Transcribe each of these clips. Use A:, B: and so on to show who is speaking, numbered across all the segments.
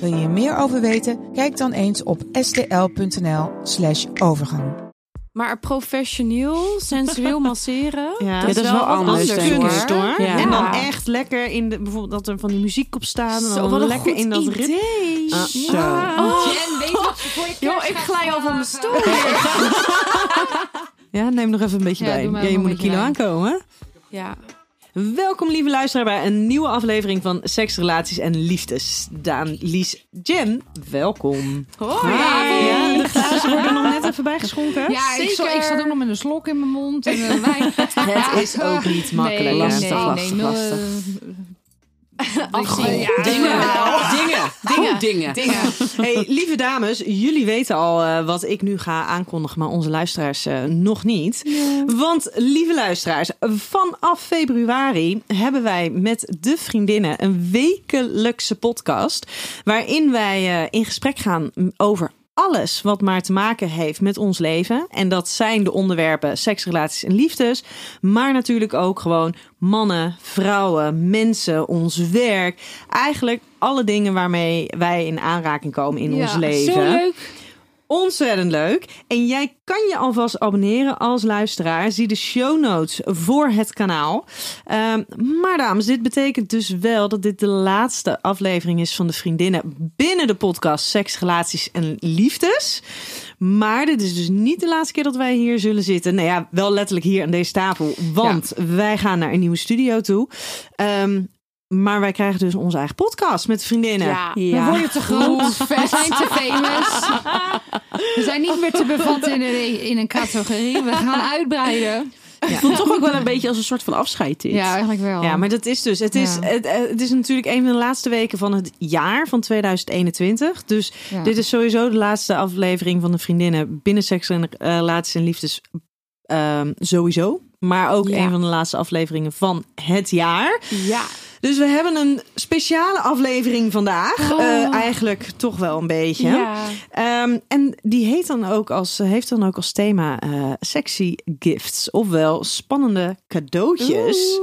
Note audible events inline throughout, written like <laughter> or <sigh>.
A: Wil je hier meer over weten? Kijk dan eens op stl.nl/slash overgang.
B: Maar professioneel, sensueel masseren.
C: Ja, dat is wel anders,
B: anders,
C: denk ik.
B: kunst, hoor.
C: Ja.
D: En dan echt lekker in de, bijvoorbeeld dat er van die muziek op staan. En
B: Zo,
D: dan
B: wat een
D: lekker
B: goed
D: in dat ritme.
B: idee. Ja.
D: Ah, zo.
B: Oh,
E: Jen, weet wat je voor je
B: joh,
E: kerst
B: ik
E: gaat
B: glij al van mijn
E: vragen?
B: stoel.
D: Ja, neem nog even een beetje
E: Ja,
D: bij.
E: doe maar
D: Ja, je
E: nog
D: moet
E: een
D: een kilo
E: beetje
D: aankomen.
B: Ja.
D: Welkom, lieve luisteraar, bij een nieuwe aflevering van Seks, Relaties en Liefdes. Daan, Lies, Jen, welkom.
B: Hoi.
D: Ja, de glazen worden nog net even bijgeschonken.
E: Ja, ik, zat-
B: Zeker.
E: ik zat ook nog met een slok in mijn mond en een wijn.
C: Het is ook niet makkelijk.
E: Nee,
C: lastig,
E: nee,
C: lastig,
E: nee,
C: lastig.
E: Afgod. Ja,
C: Dingen.
E: nou.
C: Dingen. Dingen. Dingen.
E: Dingen.
D: <laughs> Hey, lieve dames, jullie weten al eh, wat ik nu ga aankondigen, maar onze luisteraars eh, nog niet. Want lieve luisteraars, vanaf februari hebben wij met de vriendinnen een wekelijkse podcast. Waarin wij eh, in gesprek gaan over alles wat maar te maken heeft met ons leven. En dat zijn de onderwerpen seks, relaties en liefdes. Maar natuurlijk ook gewoon mannen, vrouwen, mensen, ons werk. Eigenlijk alle dingen waarmee wij in aanraking komen in ons leven.
E: Zo leuk.
D: Ontzettend leuk. En jij kan je alvast abonneren als luisteraar. Zie de show notes voor het kanaal. Ehm, maar dames, dit betekent dus wel dat dit de laatste aflevering is van de vriendinnen binnen de podcast Seks, Relaties en Liefdes. Maar dit is dus niet de laatste keer dat wij hier zullen zitten. Nou ja, wel letterlijk hier aan deze tafel. Want wij gaan naar een nieuwe studio toe. Ehm, maar wij krijgen dus onze eigen podcast met de vriendinnen.
B: Ja.
E: We
C: Ja.
E: worden te groot. We zijn te famous. We zijn niet meer te bevatten in een, in een categorie. We gaan uitbreiden.
C: Het voelt toch ook wel een beetje als een soort van afscheid dit.
E: Ja, eigenlijk wel.
D: Ja, maar dat is dus. Het is,
E: Ja.
D: het, eh, het is natuurlijk een van de laatste weken van het jaar van 2021. Dus
E: Ja.
D: dit is sowieso de laatste aflevering van de vriendinnen binnen seks en eh, relaties en liefdes. ehm, sowieso. Maar ook
B: Ja.
D: een van de laatste afleveringen van het jaar.
B: Ja.
D: Dus we hebben een speciale aflevering vandaag.
B: Oh.
D: Eh, eigenlijk toch wel een beetje. Ehm, en die heet dan ook als, eh, heeft dan ook als thema eh, sexy gifts, ofwel spannende cadeautjes.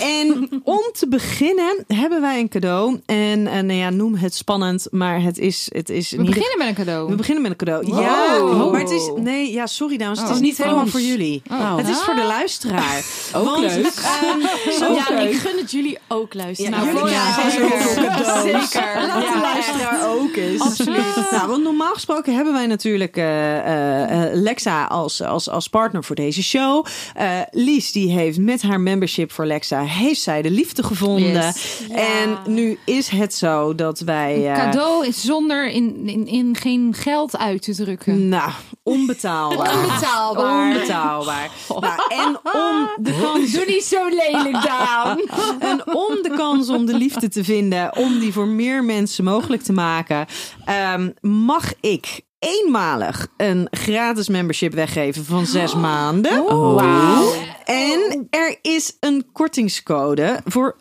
D: En om te beginnen hebben wij een cadeau. En eh, nou ja, noem het spannend, maar het is, het is
E: We beginnen met een cadeau.
D: we beginnen met een cadeau.
C: Wow.
D: Ja, maar het is. Nee, ja, sorry dames.
E: Oh.
D: het is niet
C: Oh.
D: helemaal voor jullie.
C: Oh.
D: Het is voor de luisteraar.
C: <laughs> Ook leuk.
D: ehm, zo
C: Ja,
B: Ja,
C: leuk.
B: ik gun het jullie ook luisteren.
D: Ja,
B: Nou,
D: jullie
B: ja,
D: krijgen
B: zeker.
D: zoveel
B: <laughs>
D: cadeaus.
B: Zeker.
D: Laat de
B: Ja.
D: luisteraar ook eens.
B: Absoluut.
D: <laughs> Nou, want normaal gesproken hebben wij natuurlijk eh, eh, eh, Lexa als, als, als partner voor deze show. Eh, Lies, die heeft met haar membership voor Lexa, heeft zij de liefde gevonden.
E: Yes.
B: Ja.
D: En nu is het zo dat wij... eh,
E: Cadeau is zonder in, in, in geen geld uit te drukken.
D: Nou, onbetaalbaar.
E: Onbetaalbaar.
D: Onbetaalbaar. Nou, en om de kans...
E: Doe niet zo lelijk, Daan.
D: En om de kans om de liefde te vinden, om die voor meer mensen mogelijk te maken, ehm, mag ik eenmalig een gratis membership weggeven van zes maanden.
C: Wauw.
D: En er is een kortingscode voor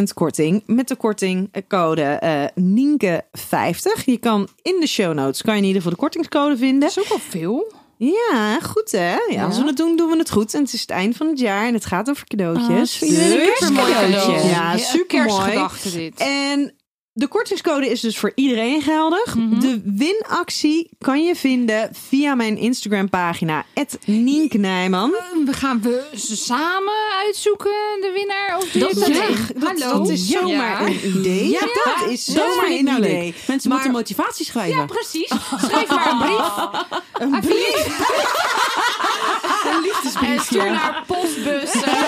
D: 50% korting met de kortingcode eh Nienke50. Je kan in de show notes kan je in ieder geval de kortingscode vinden.
E: Dat is ook wel veel.
D: Ja, goed hè. Ja, als we het doen, doen we het goed. En het is het eind van het jaar en het gaat over cadeautjes.
E: vind je een
D: Dus-
E: supermooi cadeau.
D: Ja,
E: Een
D: supermooi.
E: Kerstgedachte dit.
D: En de kortingscode is dus voor iedereen geldig. De winactie kan je vinden via mijn Instagram pagina, Nienke Nijman.
E: We gaan we ze samen uitzoeken, de winnaar of dit?
C: Dat- dat-
E: Hallo?
D: Dat is
E: Ja.
D: zomaar een idee.
C: Ja,
D: dat is
C: Dat
D: zomaar
C: vind ik
D: een
C: nou
D: idee.
C: leuk. Mensen
D: Maar-
C: moeten motivatie schrijven.
E: Precies. Schrijf <laughs> maar een brief. Een brief.
C: een liefdesbriefje.
D: <laughs>
E: nou En stuur naar postbus. eh,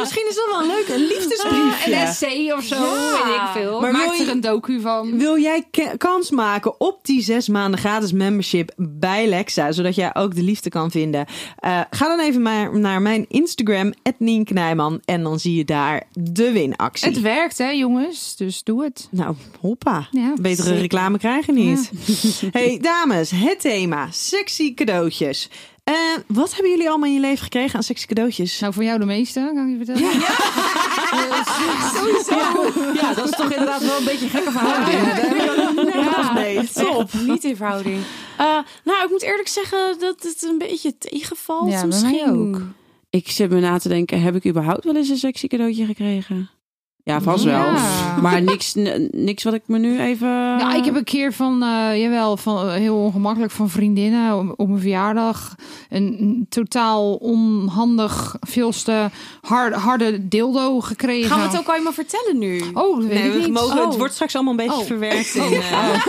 D: misschien is dat wel een leuk een
E: Ah, Een
D: liefdesbriefje.
E: essay of zo,
D: Ja.
E: weet ik veel.
D: Maar
E: Maak
D: wil je-
E: er een docu van.
D: Wil jij ke- kans maken op die zes maanden gratis membership bij Lexa, zodat jij ook de liefde kan vinden? Eh, ga dan even maar naar mijn Instagram, Nien Knijman, en dan zie je daar de winactie.
E: Het werkt, hè, jongens. Dus doe het.
D: Nou, hoppa.
E: Ja,
D: Betere
E: zeker.
D: reclame krijgen niet. <laughs> hey, dames, het thema: sexy cadeautjes. Eh, wat hebben jullie allemaal in je leven gekregen aan sexy cadeautjes?
E: Nou, voor jou de meeste, kan ik je vertellen.
C: Ja, dat is toch inderdaad wel een beetje een gekke
D: Nou, Oh,
C: verhouding.
B: Ja.
D: Nee, top.
B: Echt Niet in verhouding. Eh, nou, ik moet eerlijk zeggen dat het een beetje tegenvalt
E: Ja, bij mij
B: misschien.
E: ook.
C: Ik zit me na te denken, heb ik überhaupt wel eens een sexy cadeautje gekregen? Ja, vast wel.
E: Ja.
C: <laughs> Maar niks, n- niks wat ik me nu even...
E: Nou, ik heb een keer van, eh, jawel, van, eh, heel ongemakkelijk van vriendinnen om- op mijn verjaardag. Een, een totaal onhandig, veelste hard, harde dildo gekregen.
B: Gaan we het ook allemaal vertellen nu?
E: Oh, dat weet
D: Nee,
E: ik niet.
D: we mogen, het
B: Oh.
D: wordt straks allemaal een beetje
E: Oh.
D: verwerkt. In, eh,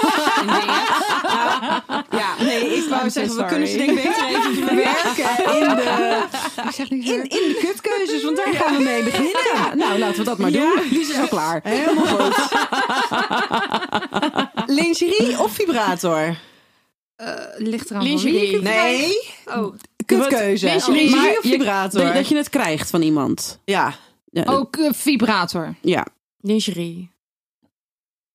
D: ja, nee, ik wou zeggen, we
C: sorry.
D: kunnen ze denk ik beter <laughs> even verwerken in de,
E: <laughs> Ik zeg niks
D: in,
E: meer.
D: in de kutkeuzes, want daar gaan we mee beginnen.
C: Ja, nou, laten we dat maar
D: Ja.
C: doen. Lies is al klaar.
D: Helemaal goed. Lingerie of vibrator?
E: Eh, ligt eraan
B: Lingerie.
D: Nee,
B: Oh,
D: kutkeuze.
C: Wat-
D: Lingerie
C: Maar
D: of
C: je-
D: vibrator?
C: Dat je het krijgt van iemand.
D: Ja.
C: Ja,
E: Ook eh, vibrator.
C: Ja.
B: lingerie.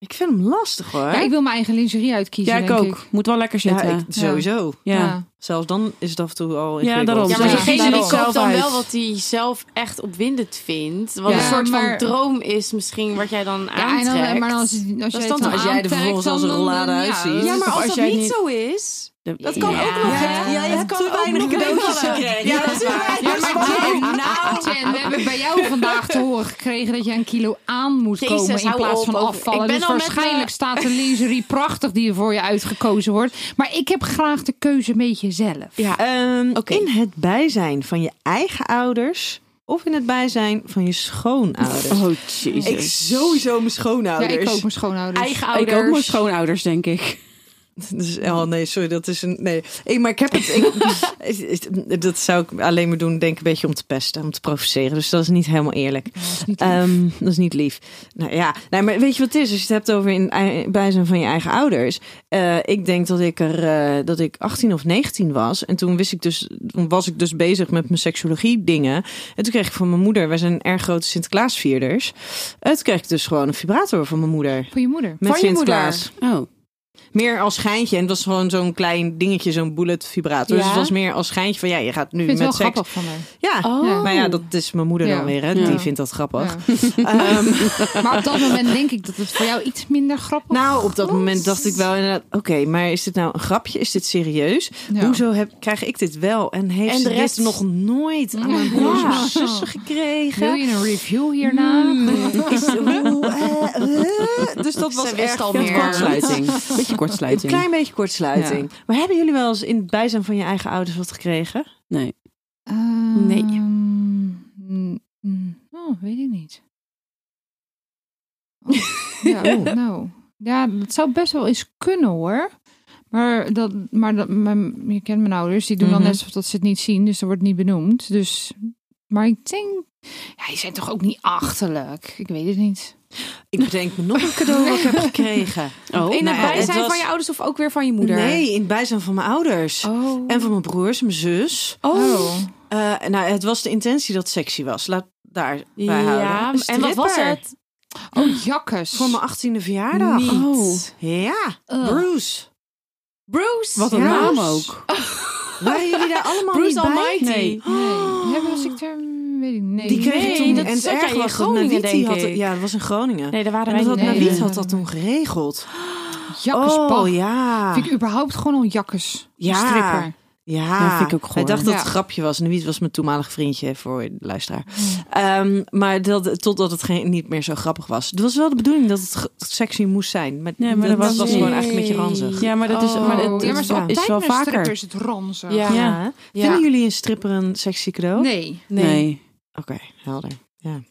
D: Ik vind hem lastig hoor.
E: Ja, ik wil mijn eigen lingerie uitkiezen.
C: ja, ik
E: denk
C: ook. Moet wel lekker
D: Ja,
C: zitten. Ja,
D: ik- sowieso.
C: ja.
D: Zelfs dan is het af en toe al
C: Ja, daarom.
D: ingewikkeld.
B: Ja, maar
E: Ja,
B: diegene
E: daarom.
B: die koopt dan
C: Zelf
B: wel
C: uit.
B: wat hij zelf echt opwindend vindt. Wat
E: Ja,
B: een soort
E: maar-
B: van droom is misschien wat jij dan
E: Ja, en
B: aantrekt.
E: dan, maar als, als,
D: is
E: jij,
D: dan
E: het dan
D: als jij er
E: aantrekt,
D: vervolgens
E: dan-
D: als een rollade
E: dan- ja.
D: uitziet.
B: Ja, maar als,
C: Of als
B: dat
C: jij
B: niet
C: niet-
B: zo is, dat kan ook nog.
E: Ja.
B: hè?
E: Ja, je
B: Dat
D: hebt
B: kan
D: te
B: ook
D: weinig
B: nog
D: cadeautjes
B: meevallen.
D: gekregen.
B: Ja,
D: Ja,
B: dat is
D: dat is
B: waar.
E: Ja, maar Jen, Jen, we hebben bij jou vandaag te horen gekregen dat je een kilo aan moet
B: Jezus,
E: komen in
B: hou
E: plaats
B: op
E: van
B: over-
E: afvallen.
B: Ik ben
E: dus
B: al met
E: waarschijnlijk
B: me-
E: staat de lingerie prachtig die er voor je uitgekozen wordt. Maar ik heb graag de keuze een beetje zelf.
B: Ja.
D: Ehm,
B: Oké.
D: In het bijzijn van je eigen ouders of in het bijzijn van je schoonouders?
C: Oh, jezus.
D: ik sowieso mijn
E: Ja,
D: schoonouders.
E: ik ook mijn schoonouders.
B: Eigen
C: Ik
B: ouders.
C: ook mijn schoonouders, denk ik.
D: <laughs> Dus- oh nee, sorry, dat is een. Nee, Ik- maar ik heb het.
E: <laughs>
D: Ik, dat zou ik alleen maar doen, denk ik, een beetje om te pesten, om te provoceren. Dus dat is niet helemaal eerlijk.
E: Ja, dat is niet lief.
D: Ehm, dat is niet lief. Nou ja, nee, maar weet je wat het is? Als je het hebt over in ei- bijzijn van je eigen ouders. Eh, ik denk dat ik er eh, dat ik 18 of 19 was. En toen wist ik dus, toen was ik dus bezig met mijn seksologie dingen. En toen kreeg ik van mijn moeder, wij zijn erg grote Sinterklaasvierders. En toen kreeg ik dus gewoon een vibrator van mijn moeder.
E: Voor je moeder.
D: Met
B: Van je
D: Sinterklaas.
C: Oh.
D: Meer als schijntje. En het was gewoon zo'n klein dingetje, zo'n bullet vibrator. Dus
B: Ja.
D: het was meer als schijntje van ja, je gaat nu
E: Ik vind
D: met
E: het wel
D: seks.
E: grappig van haar.
D: Ja.
B: Oh.
D: Maar ja, dat is mijn moeder
E: Ja.
D: dan weer. Hè?
C: Ja.
D: Die vindt dat grappig.
E: Ja.
D: Ehm,
E: Maar op dat moment denk ik dat het voor jou iets minder grappig
D: Nou, op dat
E: was.
D: moment dacht ik wel inderdaad... Oké, maar is dit nou een grapje? Is dit serieus?
E: Ja.
D: Hoezo heb, krijg ik dit wel? En heeft
B: En de
D: ze
B: rest-
D: dit nog nooit aan mijn broers
B: Ja.
D: of zussen gekregen? Hmm.
E: Wil je een review hierna?
D: Is, hoe, eh, eh? Dus dat was
B: Ze wist
D: echt
B: al
D: veel
B: meer.
D: kortsluiting.
C: Kortsluiting. Beetje
D: Een
C: kortsluiting.
D: klein beetje kortsluiting. Maar hebben jullie wel eens in het bijzijn van je eigen ouders wat gekregen?
C: Nee.
B: Nee.
E: Ehm, mm, mm, oh, weet ik niet.
B: <laughs>
E: Oh, ja, oh, nou. Ja, dat zou best wel eens kunnen hoor. Maar, dat, maar dat, mijn, je kent mijn ouders, die doen
D: Mhm.
E: dan net alsof dat ze het niet zien, dus dat wordt niet benoemd. Dus, maar ik denk, ja, die zijn toch ook niet achterlijk? Ik weet het niet.
D: Ik bedenk me nog een cadeau wat ik heb gekregen.
B: <laughs>
C: Oh.
B: In
D: Nou
B: het
D: ja,
B: bijzijn
D: het was-
B: van je ouders of ook weer van je moeder?
D: Nee, in het bijzijn van mijn ouders.
B: Oh.
D: En van mijn broers, mijn zus.
B: oh.
D: Eh, nou, het was de intentie dat het sexy was. Laat daar bij houden.
B: Ja,
D: Een
B: en wat was
D: stripper.
B: het?
E: Oh, jakkes.
D: Voor mijn 18e verjaardag. Oh.
B: Oh.
C: Niet.
D: Ja,
E: Ugh.
D: Bruce.
B: Bruce.
C: Wat een
D: Ja.
C: naam ook.
D: <laughs> Waren jullie daar allemaal
B: Bruce
D: niet bij?
B: Almighty.
C: Nee.
E: Nee, ja, was ik er? Weet ik niet.
D: Die kreeg
B: Nee,
D: toen,
B: dat
D: en het
B: zat jij
D: erg
B: in
D: was dat
B: Groningen,
D: Nawiet, die
B: denk
D: had,
B: ik.
D: Ja, dat was in Groningen.
B: Nee, daar waren
D: en
B: wij
D: dat had
B: niet.
E: Nee.
D: Nawiet had dat toen geregeld.
E: Jakkerspak.
D: Oh,
C: Ah.
D: ja.
E: Vind ik überhaupt gewoon een jakkes.
D: Ja.
E: Stripper.
D: Ja,
C: Ja, vind ik ook
D: Ah, Hij
C: goor.
D: dacht dat het
E: Ja.
D: grapje was. Nawiet was mijn toenmalig vriendje voor de luisteraar. Ehm, maar dat, totdat het geen, niet meer zo grappig was. Het was wel de bedoeling dat het ge- sexy moest zijn. Maar,
C: Nee, maar
D: dat,
C: dat
D: was,
C: was-
D: gewoon eigenlijk een beetje ranzig.
C: Ja, maar dat is, maar
E: Oh,
C: dat,
E: ja, maar
C: is,
E: zo altijd
C: wel
E: met een
C: vaker.
E: stripper is het ranzig.
B: Ja.
D: Ja, hè?
B: Ja.
D: Vinden jullie een stripper een sexy cadeau?
E: Nee.
C: Nee.
D: Oké, helder.
E: Doe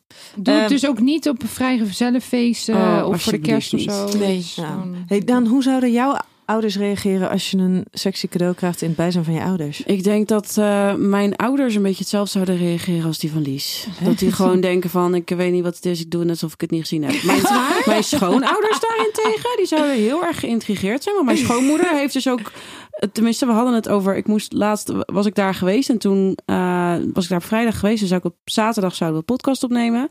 D: Ehm,
E: het dus ook niet op een vrijgezellenfeest eh,
C: Oh,
E: of voor de
C: alsjeblieft
E: kerst of
C: niet. Nou.
E: zo.
B: Nee.
E: Dat is
D: Ja.
E: gewoon-
D: Hey, dan, hoe zouden jouw ouders reageren als je een sexy cadeau krijgt in het bijzijn van je ouders?
C: Ik denk dat eh, mijn ouders een beetje hetzelfde zouden reageren als die van Lies. Dat die gewoon denken van, ik weet niet wat het is, ik doe net alsof ik het niet gezien heb. Mijn, mijn schoonouders daarentegen, die zouden heel erg geïntrigeerd zijn. Maar mijn schoonmoeder heeft dus ook, eh, tenminste we hadden het over, ik moest laatst, was ik daar geweest en toen eh, was ik daar op vrijdag geweest. Dus zou ik op zaterdag zouden we een podcast opnemen.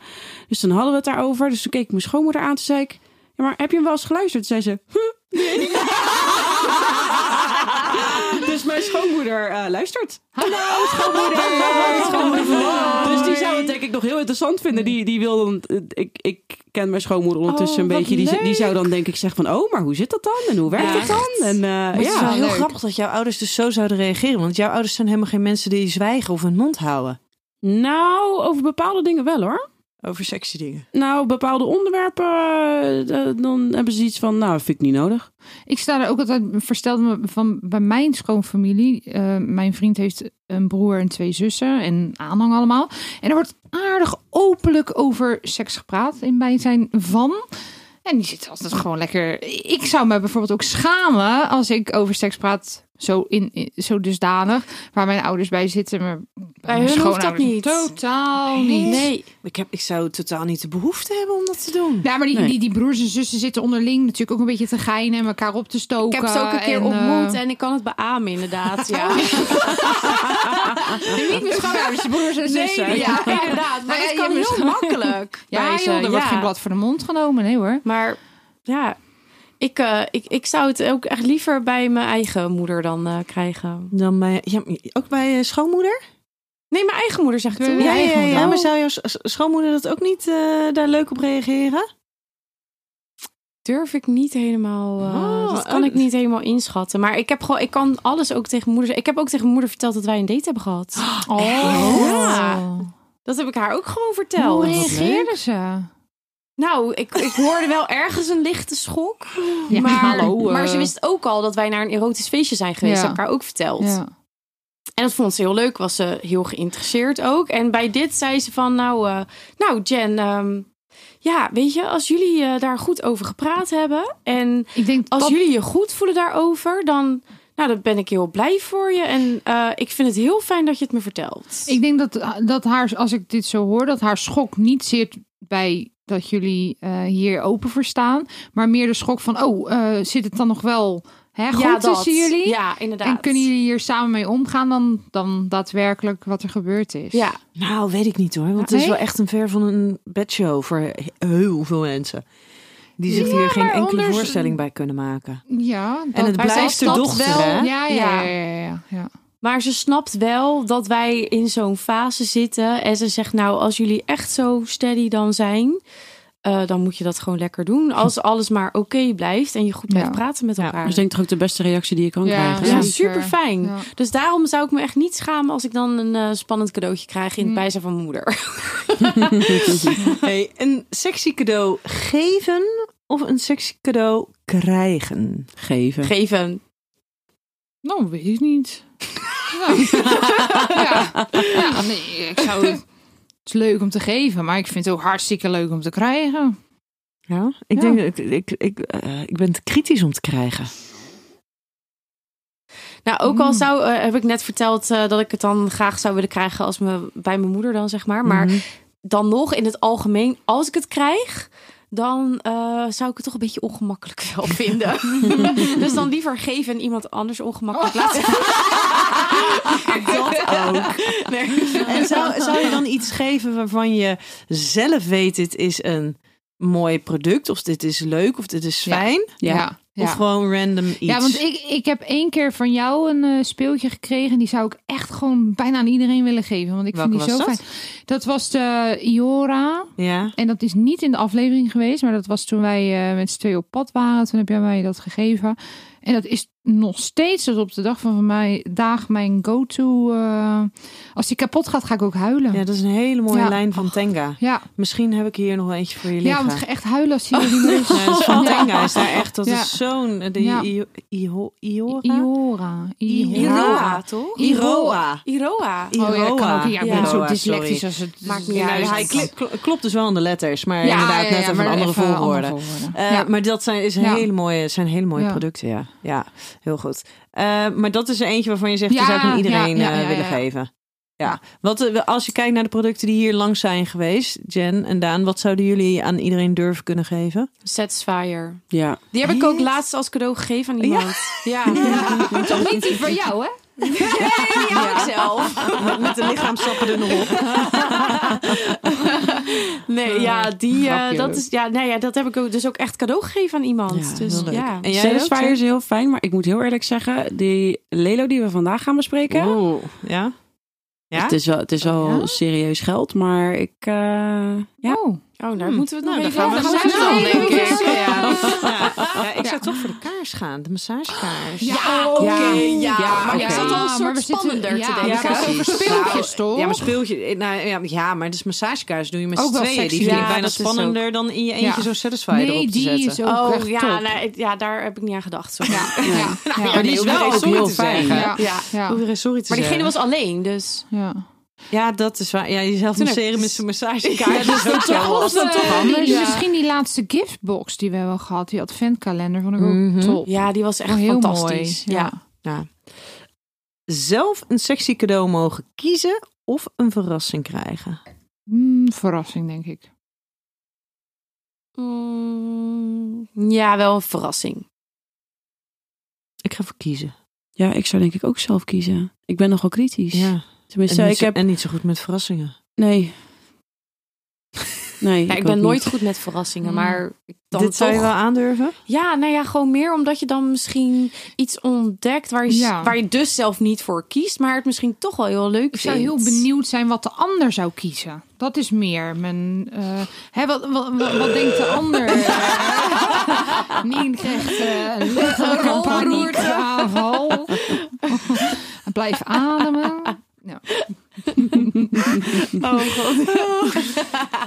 C: Dus toen hadden we het daarover. Dus toen keek ik mijn schoonmoeder aan, toen zei ik, ja, maar heb je hem wel eens geluisterd? Toen zei ze, hm,
D: <laughs>
C: Dus mijn schoonmoeder eh, luistert. <laughs> Hallo, schoonmoeder. Schoonmoeder van Lotte. Dus die zou het denk ik nog heel interessant vinden. Die, die wil dan, eh, ik, ik ken mijn schoonmoeder ondertussen
E: Oh,
C: een
E: wat
C: beetje. Die, die
E: leuk.
C: zou dan denk ik zeggen van, oh, maar hoe zit dat dan? En hoe werkt dat dan? En eh,
D: Maar het is wel
C: ja.
D: heel
E: leuk.
D: grappig dat jouw ouders dus zo zouden reageren. Want jouw ouders zijn helemaal geen mensen die zwijgen of hun mond houden.
C: Nou, over bepaalde dingen wel hoor.
D: Over sexy dingen.
C: Nou, bepaalde onderwerpen, eh, dan hebben ze iets van, nou, vind ik niet nodig.
E: Ik sta er ook altijd versteld me van bij mijn schoonfamilie. Eh, mijn vriend heeft een broer en twee zussen en aanhang allemaal. En er wordt aardig openlijk over seks gepraat in bijzijn van. En die zit altijd gewoon lekker. Ik zou me bijvoorbeeld ook schamen als ik over seks praat. Zo, in, in- zo dusdanig. Waar mijn ouders bij zitten. Maar bij, mijn
B: hun hoeft dat
E: schoonouders
B: niet.
E: Totaal niet.
B: Nee.
D: Ik, heb, ik zou totaal niet de behoefte hebben om dat te doen.
E: Ja, maar die,
C: Nee.
E: die, die broers en zussen zitten onderling natuurlijk ook een beetje te geinen en elkaar op te
B: Ik
E: stoken.
B: heb ze ook een keer
E: en,
B: ontmoet
E: eh,
B: en ik kan het beamen inderdaad. Ja.
E: niet mijn schoonouders, de broers en
B: Nee,
E: zussen.
B: ja, inderdaad. Maar
E: Nou ja,
B: dat
E: je
B: kan
E: hebt
B: heel
E: misschien-
B: makkelijk. <laughs>
E: Ja,
B: bij
E: joh,
B: ze,
E: er wordt
B: ja.
E: geen blad voor de mond genomen, nee hoor.
B: Maar ja, ik, eh, ik, ik zou het ook echt liever bij mijn eigen moeder dan eh, krijgen.
D: Dan bij, ja, ook bij eh, je schoonmoeder?
B: Nee, mijn eigen moeder zegt
E: Ja,
B: toen.
E: ja, ja, ja.
D: maar zou jouw s- s- schoonmoeder dat ook niet eh, daar leuk op reageren?
B: durf ik niet helemaal. eh,
D: Oh,
B: dat kan
D: oh.
B: ik niet helemaal inschatten. Maar ik heb gewoon, ik kan alles ook tegen mijn moeder zeggen. Ik heb ook tegen mijn moeder verteld dat wij een date hebben gehad.
E: Oh,
B: Ja. Dat heb ik haar ook gewoon verteld.
E: Hoe Oh, reageerden ze?
B: Nou, ik, ik hoorde wel ergens een lichte schok.
E: Ja,
B: maar,
E: hallo, eh.
B: maar ze wist ook al dat wij naar een erotisch feestje zijn geweest.
E: Ja.
B: Dat heb ik haar ook verteld.
E: Ja.
B: En dat vond ze heel leuk. Was ze heel geïnteresseerd ook. En bij dit zei ze van, nou, eh, nou Jen, ehm, ja, weet je, als jullie eh, daar goed over gepraat hebben en
E: Ik denk
B: als
E: dat-
B: jullie je goed voelen daarover, dan, nou, dan ben ik heel blij voor je. En eh, ik vind het heel fijn dat je het me vertelt.
E: Ik denk dat, dat haar, als ik dit zo hoor, dat haar schok niet zit bij dat jullie eh, hier open voor staan. Maar meer de schok van, oh, eh, zit het dan nog wel hè, goed
B: dat.
E: tussen jullie?
B: Ja, inderdaad.
E: En kunnen jullie hier samen mee omgaan dan, dan daadwerkelijk wat er gebeurd is?
B: Ja,
D: Nou, weet ik niet hoor. Want het is
E: Nee?
D: wel echt een ver van een bedshow voor he- heel veel mensen. Die zich hier geen
E: maar
D: enkele
E: anders-
D: voorstelling bij kunnen maken.
E: ja dat-
D: En het
B: maar zij
D: blijft de
B: snapt
D: dochter,
B: wel-
D: hè?
E: Ja, ja, ja,
B: Ja.
E: ja, ja, ja.
B: maar ze snapt wel dat wij in zo'n fase zitten. En ze zegt, nou, als jullie echt zo steady dan zijn, eh, dan moet je dat gewoon lekker doen. Als alles maar oké blijft en je goed blijft
E: Ja.
B: praten met
D: Ja,
B: elkaar.
C: Dat is denk Dus ik toch ook de beste reactie die je kan
E: Ja,
C: krijgen.
B: Ja,
E: zeker.
B: super fijn.
E: Ja.
B: Dus daarom zou ik me echt niet schamen als ik dan een eh, spannend cadeautje krijg in het
E: Mm.
B: bijzijn van mijn moeder. <laughs>
D: Hey, een sexy cadeau geven of een sexy cadeau krijgen?
C: Geven.
B: Geven.
E: Nou, weet ik niet. ja.
D: <laughs>
E: ja. Ja, nee, ik zou het... Het is leuk om te geven, maar ik vind het ook hartstikke leuk om te krijgen.
D: Ja, Nou, ik
E: Ja.
D: denk dat ik, ik, ik, eh, ik ben te kritisch om te krijgen.
B: Nou, ook al
E: Mm.
B: zou, eh, heb ik net verteld eh, dat ik het dan graag zou willen krijgen als me, bij mijn moeder dan, zeg maar. Maar
D: Mhm.
B: dan nog in het algemeen, als ik het krijg, dan eh, zou ik het toch een beetje ongemakkelijk <laughs> wel vinden. dus dan liever geven en iemand anders ongemakkelijk <laughs> laten. dat ook. Nee.
D: En zou, zou je dan iets geven waarvan je zelf weet, dit is een mooi product, of dit is leuk, of dit is
E: Ja.
D: fijn?
C: Ja.
E: ja.
D: Of gewoon random iets?
E: Ja, want ik, ik heb één keer van jou een eh, speeltje gekregen. Die zou ik echt gewoon bijna aan iedereen willen geven. Want ik
D: Welke
E: vind die zo
D: was dat?
E: fijn. Dat was de Iora.
D: Ja.
E: En dat is niet in de aflevering geweest. Maar dat was toen wij eh, met z'n tweeën op pad waren. Toen heb jij mij dat gegeven. En dat is nog steeds tot op de dag van, van mij, dag mijn go-to. eh, als die kapot gaat, ga ik ook huilen.
D: ja,
E: Ja,
D: dat is een hele mooie
E: Ja.
D: lijn van Tenga.
E: ja.
D: Misschien heb ik hier nog wel eentje voor je liggen.
E: want ik ga echt huilen
D: <laughs>
E: als je die neus-
D: Ja, dat is van
E: <laughs> Ja.
D: Tenga is daar echt, dat
E: Ja.
D: is zo'n... eh, De
E: Ja.
D: I- Iho- Iora?
E: Iora. Iora.
B: Iroa, toch?
D: Iroa.
B: Iroa.
D: Iroa.
E: Oh ja, kan ook. Ja, ik ben
B: Ja.
E: zo
D: Iroa,
E: dyslectisch
D: sorry.
E: als het...
B: Maakt niet
D: Ja,
B: uit.
D: dus hij kl- kl- klopt dus wel aan de letters, maar inderdaad net even een andere
E: even
D: volgorde.
E: andere volgorde.
D: Eh,
E: <laughs> ja.
D: Maar dat zijn, is een
E: Ja.
D: hele mooie, zijn hele mooie
E: Ja.
D: producten, ja. Ja, heel goed. Eh, maar dat is er eentje waarvan je zegt,
E: Ja,
D: die zou ik aan iedereen
E: ja, ja,
D: eh,
E: ja,
D: willen
E: ja.
D: geven. Ja, wat, eh, als je kijkt naar de producten die hier langs zijn geweest, Jen en Daan, wat zouden jullie aan iedereen durven kunnen geven?
B: Satisfier.
C: Ja.
B: Die heb ik ook laatst als cadeau gegeven aan iemand. <laughs> Ja. Ja.
E: Toch niet die voor jou, hè?
B: die hou ik zelf.
D: <laughs>
B: <laughs>
D: Met de lichaamsappen er nog op.
B: Nee, ja, die, eh,
E: Grapje.
B: dat is, ja, nee, ja, dat heb ik ook, dus ook echt cadeau gegeven aan iemand.
C: Ja,
B: dus,
D: heel leuk.
B: ja.
D: En jij ook,
C: Satisfier
D: Jen?
C: is heel fijn, maar ik moet heel eerlijk zeggen, die Lelo die we vandaag gaan bespreken,
D: Oeh, ja? Ja?
C: het is wel, het is wel
E: Ja?
C: serieus geld, maar ik, eh, ja.
E: Oh.
B: Oh, daar
D: Hmm.
B: moeten we het
D: Nou,
B: nog
D: daar gaan
B: even
D: we
B: over
D: het
B: hebben.
D: nog
B: Nou,
D: even
B: denk
D: over
B: ik.
D: hebben.
B: Ja.
D: Ja, ja, ik zou toch voor de kaars gaan, de massagekaars.
B: Ja, oké. Ja,
C: Ja,
B: maar
C: oké.
B: ik zat al een
E: Ja, maar
B: soort
E: we zitten-
B: spannender
E: ja,
B: te
E: we
B: denken.
E: zitten over speeltjes, toch?
D: Nou, Ja, maar speeltje. Nou, ja, ja, maar het is massagekaars doe je met
E: Ook
D: z'n
E: wel
D: tweeën. Die
E: sexy.
D: vind ik
B: Ja,
D: bijna
B: dat is
D: spannender dan in je eentje
E: Ja.
D: zo satisfied erop
E: Nee,
D: te
E: die
D: zetten.
E: is ook
B: Oh,
E: echt
B: ja,
E: top.
B: nou, ik- ja, daar heb ik niet aan gedacht. Sorry. Ja.
E: Ja. <laughs> Nou Ja.
D: maar die is wel ook heel fijn.
E: Ja.
B: Ja.
E: Ja.
D: Hoef er eens sorry te
B: Maar diegene
D: zeggen.
B: was alleen, dus...
E: Ja.
D: Ja, dat is waar. Ja, jezelf
B: Toen
D: masseren
B: heb-
D: met zo'n massagekaars. dat is ook
E: Ja,
D: wel
E: of,
D: wat.
E: eh,
B: anders?
E: die-
B: Ja.
E: Misschien die laatste giftbox die we hebben gehad, die adventkalender, vond ik ook
D: Mhm.
E: top.
B: Ja, die was echt
E: Wel heel
B: fantastisch.
E: mooi.
B: Ja.
D: Zelf een sexy cadeau mogen kiezen of een verrassing krijgen.
E: Mm, verrassing, denk ik.
B: Mm, ja, wel een verrassing.
D: Ik ga voor kiezen.
C: ja, ik zou denk ik ook zelf kiezen. Ik ben nogal kritisch. Tenminste,
D: En,
C: ik
D: niet zo,
C: heb,
D: en niet zo goed met verrassingen.
C: nee.
B: <laughs>
C: Nee,
B: Ja, ik
C: ook
B: ben
C: niet.
B: nooit goed met verrassingen,
E: Mm.
B: maar ik dan
D: Dit zou je
B: toch-
D: wel aandurven?
B: Ja, nou ja, gewoon meer omdat je dan misschien iets ontdekt waar je,
E: Ja.
B: waar je dus zelf niet voor kiest, maar het misschien toch wel heel leuk
E: Ik zou heel
B: vindt.
E: benieuwd zijn wat de ander zou kiezen. Dat is meer mijn. eh, hè, wat, wat, wat, wat denkt de ander? Eh, Nien krijgt eh, een letterlijke paniekaanval. Blijf ademen. Nou,
B: Oh god,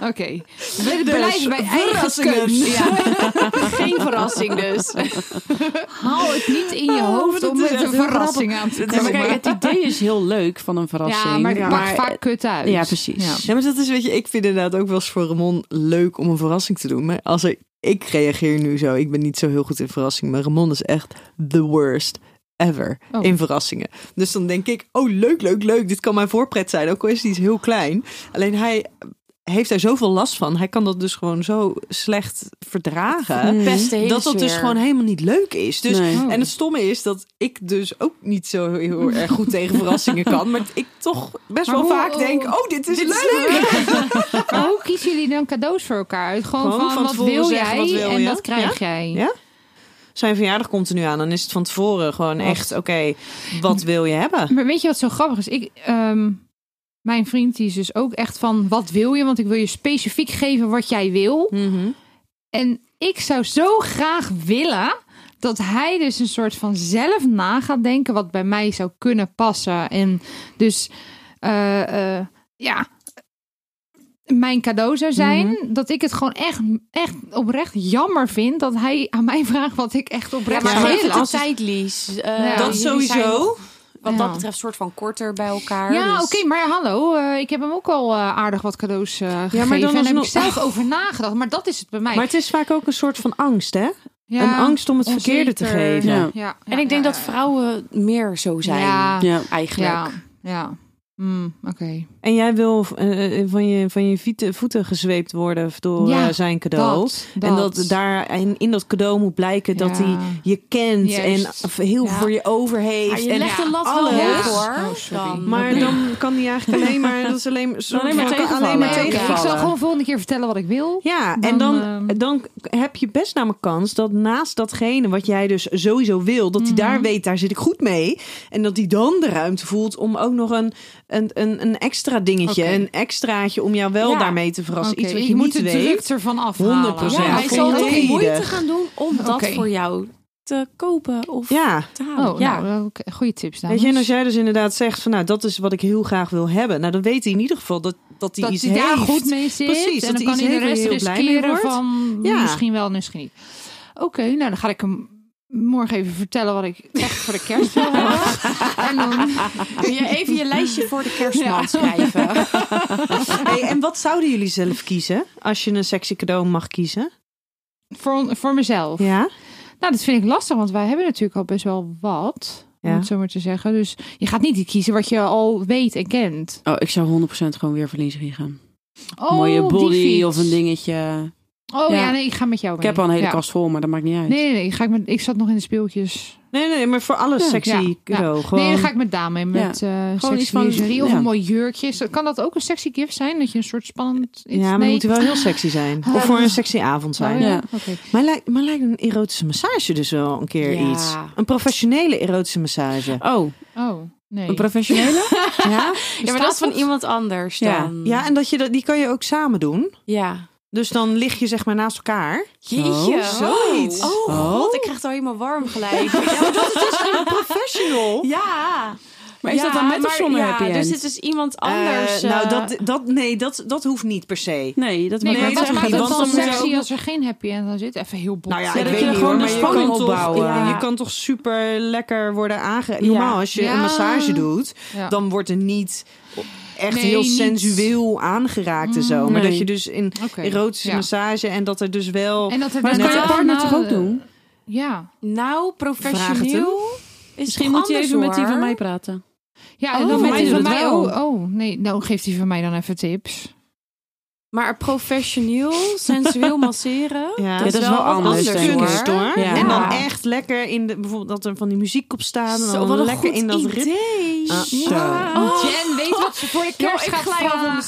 E: <laughs> Oké. We blijven bij eigen keus.
B: Ja. Geen verrassing dus.
E: Haal het niet in je hoofd
D: dat
E: om
D: is
E: met
D: echt
E: een
D: heel
E: verrassing aan te
C: Ja, maar
E: komen.
C: kijk, het idee is heel leuk van een verrassing.
E: Ja, maar het pakt
C: maar-
E: vaak kut uit.
C: Ja, precies.
E: Ja.
D: Ja, maar dat is, weet je, ik vind inderdaad ook wel eens voor Ramon leuk om een verrassing te doen. Maar als er, ik reageer nu zo, ik ben niet zo heel goed in verrassingen. Maar Ramon is echt the worst ever
E: Oh.
D: in verrassingen. Dus dan denk ik, oh leuk, leuk, leuk. Dit kan mijn voorpret zijn, ook al is het iets heel klein. Alleen hij heeft daar zoveel last van. Hij kan dat dus gewoon zo slecht verdragen.
C: Mm.
B: Beste hele
D: Dat dat dus
B: sfeer.
D: gewoon helemaal niet leuk is. Dus
C: Nee.
D: en het stomme is dat ik dus ook niet zo heel erg goed tegen verrassingen kan. Maar ik toch best
E: Maar
D: wel
E: hoe-
D: vaak denk, oh, dit is leuk.
E: <laughs> Maar hoe kiezen jullie dan cadeaus voor elkaar uit? Gewoon,
D: Gewoon
E: van,
D: van
E: wat
D: tevoren
E: wil
D: zeggen
E: jij
D: wat wil
E: en
D: je?
E: dat krijg jij.
D: Ja? Zijn verjaardag komt er nu aan. Dan is het van tevoren gewoon echt, oké, wat wil je hebben?
E: Maar weet je wat zo grappig is? Ik, ehm, mijn vriend die is dus ook echt van, wat wil je? Want ik wil je specifiek geven wat jij wil.
D: Mhm.
E: En ik zou zo graag willen dat hij dus een soort van zelf na gaat denken wat bij mij zou kunnen passen. En dus, eh, eh, ja, mijn cadeau zou zijn
D: Mhm.
E: dat ik het gewoon echt, echt oprecht jammer vind dat hij aan mij <laughs> vraagt wat ik echt
B: Ja,
E: oprecht
B: maar
D: Ja.
E: zou
B: geef het
E: willen.
B: een tijdlies. Eh,
E: Ja.
D: Dat
B: jullie zijn
D: sowieso.
B: wat dat
E: Ja.
B: betreft soort van korter bij elkaar.
E: Ja,
B: dus-
E: oké, maar hallo, eh, ik heb hem ook al eh, aardig wat cadeaus eh gegeven.
D: dan
E: en daar heb
D: alsnog-
E: ik zelf over nagedacht, maar dat is het bij mij.
D: Maar het is vaak ook een soort van angst, hè?
E: Ja,
D: een angst om het verkeerde te
E: onzeker.
D: geven.
C: Ja.
E: Ja, ja,
B: En ik denk
E: ja,
B: dat vrouwen meer zo zijn.
E: Ja, ja,
C: Ja.
B: Eigenlijk.
E: ja. Mm, oké.
D: En jij wil eh, van, je, van je vieten- voeten gezweept worden door
E: Ja,
D: eh, zijn cadeau.
E: dat,
D: En
E: dat.
D: dat daar in, in dat cadeau moet blijken dat
E: Ja.
D: hij je kent
E: Juist.
D: en heel
E: Ja.
D: voor je over heeft.
B: Maar je
D: en
B: legt de lat wel
D: alles.
B: hoog
E: Ja.
B: hoor.
E: Oh, sorry.
B: Dan.
D: Maar dan kan hij <laughs> eigenlijk alleen maar, dat is alleen,
C: Alleen maar
D: kan
C: tegenvallen.
D: alleen maar
E: Nee, oké,
D: tegenvallen.
E: Ik zal gewoon volgende keer vertellen wat ik wil.
D: Ja, en
E: Dan,
D: dan,
E: ehm,
D: dan heb je best namelijk kans dat naast datgene wat jij dus sowieso wil, dat hij daar weet, daar zit ik goed mee. En dat hij dan de ruimte voelt om ook nog een, een, een, een extra dingetje,
E: Oké.
D: een extraatje om jou wel
B: Ja.
D: daarmee te verrassen.
E: Oké,
D: Iets wat
E: je
D: je
E: moet
D: niet
E: de druk
D: weet.
E: ervan afhalen.
D: 100%.
B: ja, hij
D: Ja,
B: zal toch
D: volledig.
B: moeite gaan doen om dat
E: Oké.
B: voor jou te kopen of
D: Ja.
B: te halen.
E: Oh,
B: ja.
E: ja. nou, oké, goede tips dames.
D: Weet je, en als jij dus inderdaad zegt van nou, dat is wat ik heel graag wil hebben. Nou, dan weet hij in ieder geval dat, dat hij
E: dat
D: iets
E: hij daar
D: heeft.
E: goed mee zit.
D: Precies,
E: en
D: dat
E: dan kan
D: hij
E: hij de
D: iets heeft
E: rest
D: waar je heel blij mee
E: riskeren
D: wordt.
E: van
D: Ja.
E: misschien wel, misschien niet. Oké, nou dan ga ik hem morgen even vertellen wat ik echt voor de kerst wil
D: <laughs>
E: hebben. En
B: <laughs>
E: dan,
B: Kun je even je lijstje voor de kerstman schrijven?
D: Hey, en wat zouden jullie zelf kiezen als je een sexy cadeau mag kiezen?
E: voor, voor mezelf.
D: Ja?
E: Nou, dat vind ik lastig, want wij hebben natuurlijk al best wel wat.
D: Ja.
E: Om het zo maar te zeggen. Dus je gaat niet kiezen wat je al weet en kent.
C: Oh, ik zou 100% gewoon weer voor lingerie gaan.
E: Oh,
C: Mooie
E: die
C: body
E: fiets.
C: of een dingetje.
E: Oh ja.
C: Ja.
E: nee, ik ga met jou
C: Ik
E: mee.
C: heb al een hele
E: Ja.
C: kast vol, maar dat maakt niet uit.
E: Nee, nee, nee, ik, ga met, ik zat nog in de speeltjes.
D: Nee, nee, maar voor alles
C: Ja,
D: sexy
E: ja,
D: cadeau. Gewoon,
E: Nee, dan ga ik met dame in met eh
C: Gewoon
E: sexy
C: iets van-
E: lingerie of
C: ja.
E: een mooi jurkje. Is dat- Kan dat ook een sexy gift zijn? Dat je een soort spannend iets... Ah.
D: ja, maar
E: nee.
D: moet hij wel heel sexy zijn. Of voor een sexy avond zijn.
E: Oh, ja.
C: Ja.
E: oké.
D: Maar lijkt, maar lijkt een erotische massage dus wel een keer
B: Ja.
D: iets. Een professionele erotische massage.
C: Oh,
E: Oh, nee.
C: een professionele?
D: Ja,
B: Ja, maar dat is van
E: dat?
B: iemand anders
C: Ja.
E: Mm.
B: dan.
D: ja en dat je, dat- die kan je ook samen doen.
B: Ja.
D: Dus dan lig je zeg maar naast elkaar.
B: Jeetje.
D: zoiets.
B: <laughs> Oh,
C: Oh.
B: god, ik krijg het al helemaal warm <laughs> gelijk.
D: Professional.
B: ja.
C: Maar is dat dan met of
B: maar
C: zonder
B: ja,
C: happy end?
B: Dus het is iemand anders.
D: nou,
B: eh,
D: dat, dat, nee, dat, dat hoeft niet per se.
C: Nee, dat
E: Nee, maar
C: maakt
D: Nee,
C: mij
E: wat
D: dat
C: toch
E: maakt het
C: niet.
D: want
E: dan
D: dan moet je
E: sexy
D: ook-
E: als er geen happy end aan zit? Even heel bot.
D: Nou ja,
C: Ja,
D: ik
C: dat
D: weet
C: je
D: niet
C: gewoon
D: hoor,
C: de
D: maar je
C: spanning
D: kan toch-
C: opbouwen.
D: ja, Je kan toch super lekker worden aange... Normaal, als je
E: Ja.
D: een massage doet,
E: Ja.
D: dan wordt er niet echt
E: Nee,
D: heel
E: niet.
D: sensueel aangeraakt en zo. Maar
C: Nee.
D: dat je dus in
E: Oké,
D: erotische
E: ja.
D: massage en dat er dus wel...
E: En dat er
C: Maar dat
E: daarna-
C: kan je partner toch ook
E: eh,
C: doen?
E: Ja.
B: nou,
D: Vraag het hem.
B: professioneel. Is
C: Misschien
B: toch
C: moet je
B: anders,
C: even met die van
B: hoor.
C: mij praten.
E: Ja, en
B: Oh,
E: dan
B: voor
E: met
B: mij
E: die van
C: doet het
E: mij.
C: wel.
E: Oh, oh, nee. Nou, geeft die van mij dan even tips.
B: Maar professioneel, <laughs> sensueel masseren.
D: Ja,
C: dat is wel
B: wat
C: anders, denk ik.
D: kunst hoor.
C: Ja.
D: En dan
B: Ja.
D: echt lekker in de... Bijvoorbeeld dat er van die muziek op staat. En
B: Zo,
D: dan
B: wat een
D: lekker
B: goed
D: in dat ritme.
B: idee.
D: Ah, zo.
B: Oh. Nou,
E: Jen weet wat ze
B: <laughs>
E: voor de
B: kerst gaat vragen.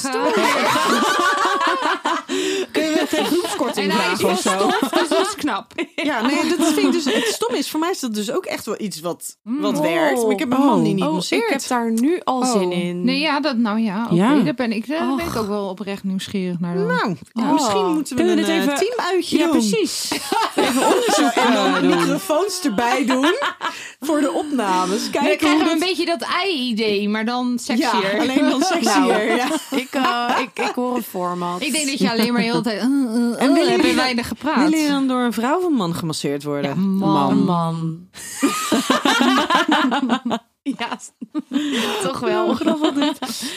D: Kunnen we het tegen groepskorting
E: En hij is
D: vragen
E: wel
D: of zo?
E: stof, dus dat is knap.
D: Ja, nee, dat vind ik dus... Het stom is, voor mij is dat dus ook echt wel iets wat, wat
B: Oh.
D: werkt. Maar ik heb een man die niet
B: Oh,
D: masseert.
B: ik heb daar nu al
D: Oh.
B: zin in.
E: Nee, ja, dat, nou ja, oké.
C: Ja.
E: Daar ben ik, daar ben ik ook wel oprecht nieuwsgierig naar dan.
D: Nou,
B: Ja.
D: misschien moeten we,
C: Kunnen we
D: een
C: dit
D: eh,
C: even-
D: teamuitje
C: Ja,
D: doen.
C: precies.
D: En dan microfoons <laughs> erbij doen voor de opnames.
E: dan
D: Kijken
E: krijgen
D: hoe
E: we een
D: dat...
E: beetje dat ei-idee, maar dan sexier.
D: Ja, alleen <laughs> dan sexier.
B: Nou.
D: ja.
B: <laughs> Ik, eh, ik, ik hoor een format.
E: Ik denk dat je alleen maar heel de tijd... Uh, uh,
D: En
E: uh,
D: willen
E: heb je
D: jullie dat-
E: weinig
D: Wil
E: gepraat.
D: je dan door een vrouw of een man gemasseerd worden?
E: Ja, man.
B: Een man. ja, toch wel.
D: Oké.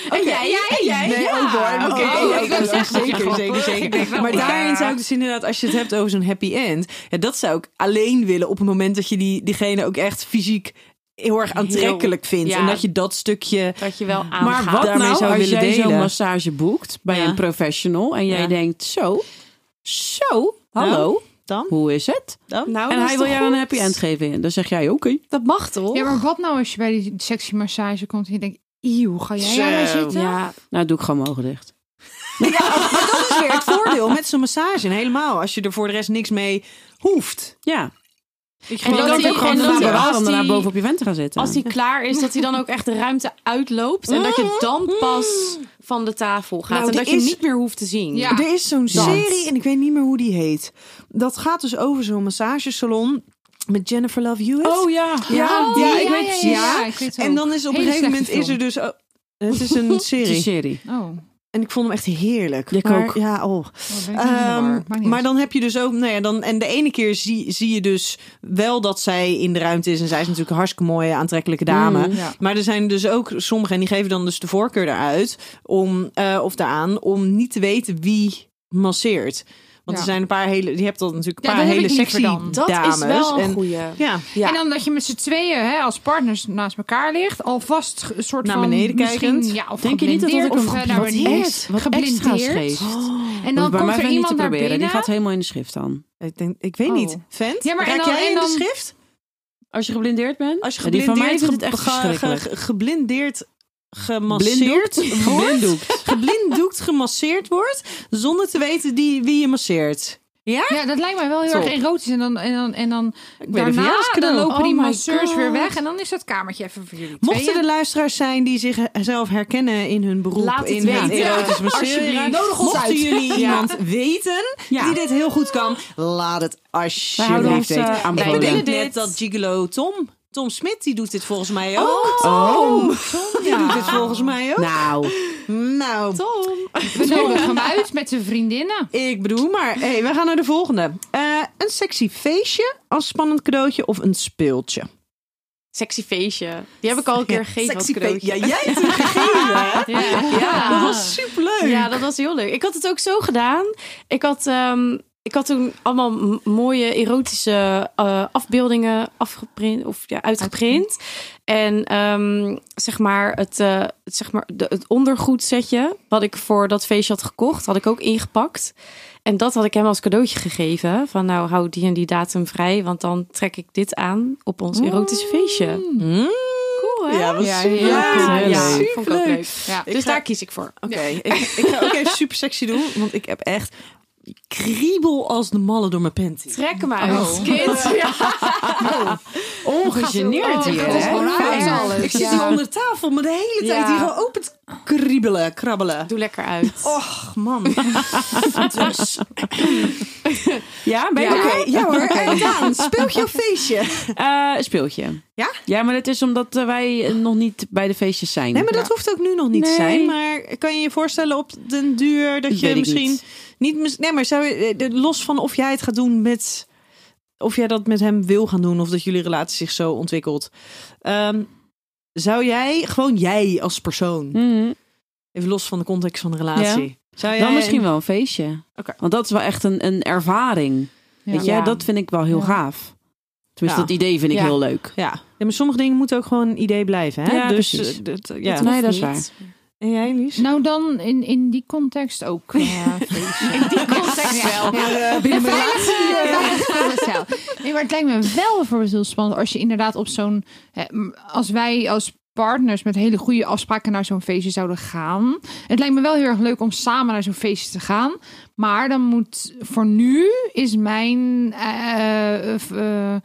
B: En jij?
D: Nee,
B: ja.
D: ook hoor. Oké,
E: Oh,
D: ja,
E: ik wou
D: ook,
E: zeggen,
D: ook, zeker,
E: grappig.
D: zeker,
E: Ik
D: zeker.
E: denk wel,
D: Maar
E: ja.
D: daarin zou ik dus inderdaad, als je het hebt over zo'n happy end, ja, dat zou ik alleen willen op het moment dat je die, diegene ook echt fysiek heel erg aantrekkelijk vindt.
B: ja.
D: En dat je dat stukje.
B: Dat je wel aangaat.
C: Maar wat
D: daarmee
C: nou
D: zou
C: als
D: willen
C: jij zo'n
D: delen?
C: massage boekt bij
D: Ja.
C: een professional en jij
D: Ja.
C: denkt zo, zo, hallo,
D: Dan?
C: hoe is het?
D: dan?
B: Nou,
C: en
B: dat
C: hij
B: is
C: wil
B: toch
C: jou een
B: goed?
C: happy end geven en dan zeg jij oké.
B: Dat mag toch?
E: Ja, maar wat nou als je bij die sexy massage komt en je denkt... Eeuw, ga jij
D: Zo.
E: daar zitten?
B: Ja,
C: Nou doe ik gewoon mijn ogen dicht.
D: Maar dat is weer het voordeel met zo'n massage. En helemaal als je er voor de rest niks mee hoeft.
C: Ja.
D: Ik
B: En
C: En
B: dat
C: dan
B: hij-
C: ook gewoon
B: en dat
C: een
B: hij-
C: liberaal
B: als
C: om daarna
B: die-
C: boven op je vent te gaan zitten.
B: als hij klaar is, dat hij dan ook echt de ruimte uitloopt. En dat je dan pas van de tafel gaat.
D: Mm. Nou,
B: en
D: die
B: dat je hem
D: is-
B: niet meer hoeft te zien.
E: Ja.
D: Er is zo'n
C: Dat.
D: serie, en ik weet niet meer hoe die heet. Dat gaat dus over zo'n massagesalon met Jennifer Love Hewitt.
C: Oh ja.
D: ja,
E: Oh,
D: ja,
E: ja,
D: ik
E: ja,
D: weet
E: ja,
D: precies.
E: ja, ik weet het
D: En
E: ook.
D: dan is op een
E: Hele
D: gegeven moment
E: slechte
D: is er dus... oh, het is <laughs> een
C: Het is een
D: serie.
C: serie.
E: Oh,
D: En ik vond hem echt heerlijk.
C: Ik
D: maar,
C: ook.
D: Ja, oh.
E: oh, ben ik helemaal in de war.
D: Ehm,
E: Maakt niet
D: maar
E: uit.
D: dan heb je dus ook, nou ja, dan, en de ene keer zie, zie je dus wel dat zij in de ruimte is. En zij is natuurlijk een hartstikke mooie, aantrekkelijke dame.
E: Mm, ja.
D: Maar er zijn dus ook sommigen, en die geven dan dus de voorkeur eruit, om, eh, of daaraan, om niet te weten wie masseert. Want
E: Ja.
D: er zijn een paar hele, je hebt dat natuurlijk een
E: Ja,
D: paar
E: dat heb
D: hele
E: ik liever
D: sexy
E: dan.
B: Dat
D: dames.
B: is wel een
D: en,
B: goeie.
D: ja.
B: Ja.
E: En dan dat je met z'n tweeën hè, als partners naast elkaar ligt, alvast ge- een soort
D: Naar
E: van
D: beneden
E: misschien,
D: kijkend.
E: Ja, of
C: Denk je niet dat dat
E: geblindeerd,
C: ook een
E: of eh, naar
C: wat
E: beneden
C: echt- wat extra's
E: geblindeerd?
C: geeft?
D: Oh.
E: En dan
C: Hoef bij
E: komt
C: mij
E: er
C: verder niet te
E: iemand naar
C: proberen.
E: binnen.
C: Die gaat helemaal in de schrift dan.
D: Ik, denk, ik weet
E: Oh.
D: niet. Vent,
E: Ja, maar en
D: raak
E: dan-
D: jij
E: en
D: in de
E: dan-
D: schrift?
C: Als je geblindeerd bent?
D: Als je
C: Ja, die
D: geblindeerd,
C: van mij vindt het echt
D: ge- ge-
C: verschrikkelijk.
D: ge- geblindeerd, gemasseerd,
C: Blinddoekt? Geblinddoekt.
D: <laughs> geblinddoekt gemasseerd wordt, zonder te weten die, wie je masseert.
E: Ja, dat lijkt mij wel heel
D: Top.
E: erg erotisch. En dan, en dan, en dan daarna dan
D: verjaardagscadeau.
E: lopen die
B: Oh my
E: masseurs weer
B: God.
E: weg. En dan is dat kamertje even voor jullie
D: Mochten
E: tweeën.
D: er luisteraars zijn die zichzelf herkennen in hun beroep
B: Laat het
D: in het
B: weten.
D: erotisch masseren,
B: Alsjeblieft. Nodig ons
D: mochten
B: uit.
C: <laughs>
D: jullie
B: Ja.
D: iemand weten
C: Ja.
D: die dit heel goed kan, laat het
C: Wij houden
D: alsjeblieft
C: ons, eh,
D: weten. Ik
C: aanbevolen.
D: bedoelde
B: Dit.
D: net dat gigolo Tom, Tom Smit, die doet dit volgens mij ook.
C: Oh.
D: Die doet dit volgens mij ook.
C: Nou.
D: Nou,
B: Tom.
C: <laughs>
E: We nodigen hem uit met zijn vriendinnen.
D: Ik bedoel, maar hey, we gaan naar de volgende. Eh, een sexy feestje als spannend cadeautje of een speeltje?
B: Sexy feestje. Die heb ik al een keer gegeven als cadeautje.
D: Ja, jij hebt hem gegeven, hè?
E: Ja.
B: <laughs> Ja.
D: Dat was superleuk.
B: Ja, dat was heel leuk. Ik had het ook zo gedaan. Ik had ehm, Ik had toen allemaal m- mooie erotische eh, afbeeldingen afgeprint of ja, uitgeprint. En ehm, zeg maar, het, eh, het, zeg maar de, het ondergoedsetje wat ik voor dat feestje had gekocht, had ik ook ingepakt. En dat had ik hem als cadeautje gegeven. Van nou, hou die en die datum vrij, want dan trek ik dit aan op ons erotische feestje. Mm.
D: Hmm.
B: Cool, hè?
D: Ja, wat
E: Ja,
D: superleuk.
E: heel
B: ja,
E: cool.
B: ja,
D: Superleuk.
B: vond ik ook leuk.
E: Ja.
B: Dus daar kies ik voor.
D: Oké, ik, ik ga ook even super sexy doen, want ik heb echt kriebel als de malle door mijn panty.
B: Trek hem uit,
E: Oh.
B: kind. Ja.
C: Ongegeneerd
E: Oh,
C: hier,
E: dat is
C: hè?
E: gewoon raar.
C: Ja.
E: alles.
D: Ik zit
E: Ja.
D: hier onder tafel met de hele tijd
B: Ja.
D: hier gewoon open te kriebelen, krabbelen.
B: Doe lekker uit.
D: Och, man. dus.
C: Ja, ben je
D: Oké,
C: er?
D: ja hoor. Eh, Daan, speelt jouw feestje.
C: Eh, een speeltje.
D: Ja?
C: Ja, maar dat is omdat eh, wij eh, nog niet bij de feestjes zijn.
D: Nee, maar dat hoeft ook nu nog niet te
C: Nee.
D: zijn. Maar kan je je voorstellen op den duur dat
C: Dat
D: je
C: weet ik
D: misschien niet.
C: niet.
D: mis- nee, maar zou je, eh, de- los van of jij het gaat doen met. Of jij dat met hem wil gaan doen of dat jullie relatie zich zo ontwikkelt. Ehm, zou jij, gewoon jij als persoon,
C: Mhm.
D: even los van de context van de relatie. Zou jij
C: Dan misschien wel een feestje.
D: Oké.
C: Want dat is wel echt een, een ervaring. Weet je,
B: Ja.
C: dat vind ik wel heel
E: Ja.
C: gaaf. Tenminste,
D: Ja.
C: dat idee vind ik
B: Ja.
C: heel leuk.
D: Ja. ja, maar sommige dingen moeten ook gewoon een idee blijven. Hè?
C: Ja,
D: dus,
C: precies.
D: eh, dat, ja.
C: Nee, dat is
B: Of
C: waar.
B: niet.
D: En jij, Lies?
E: Nou, dan in, in die context ook. eh, feestje. <laughs> in die context wel. binnen mijn eh, Nee, maar het lijkt me wel bijvoorbeeld heel spannend als je inderdaad op zo'n... eh, m- Als wij als partners met hele goede afspraken naar zo'n feestje zouden gaan. Het lijkt me wel heel erg leuk om samen naar zo'n feestje te gaan. Maar dan moet... Voor nu is mijn... eh, eh, eh,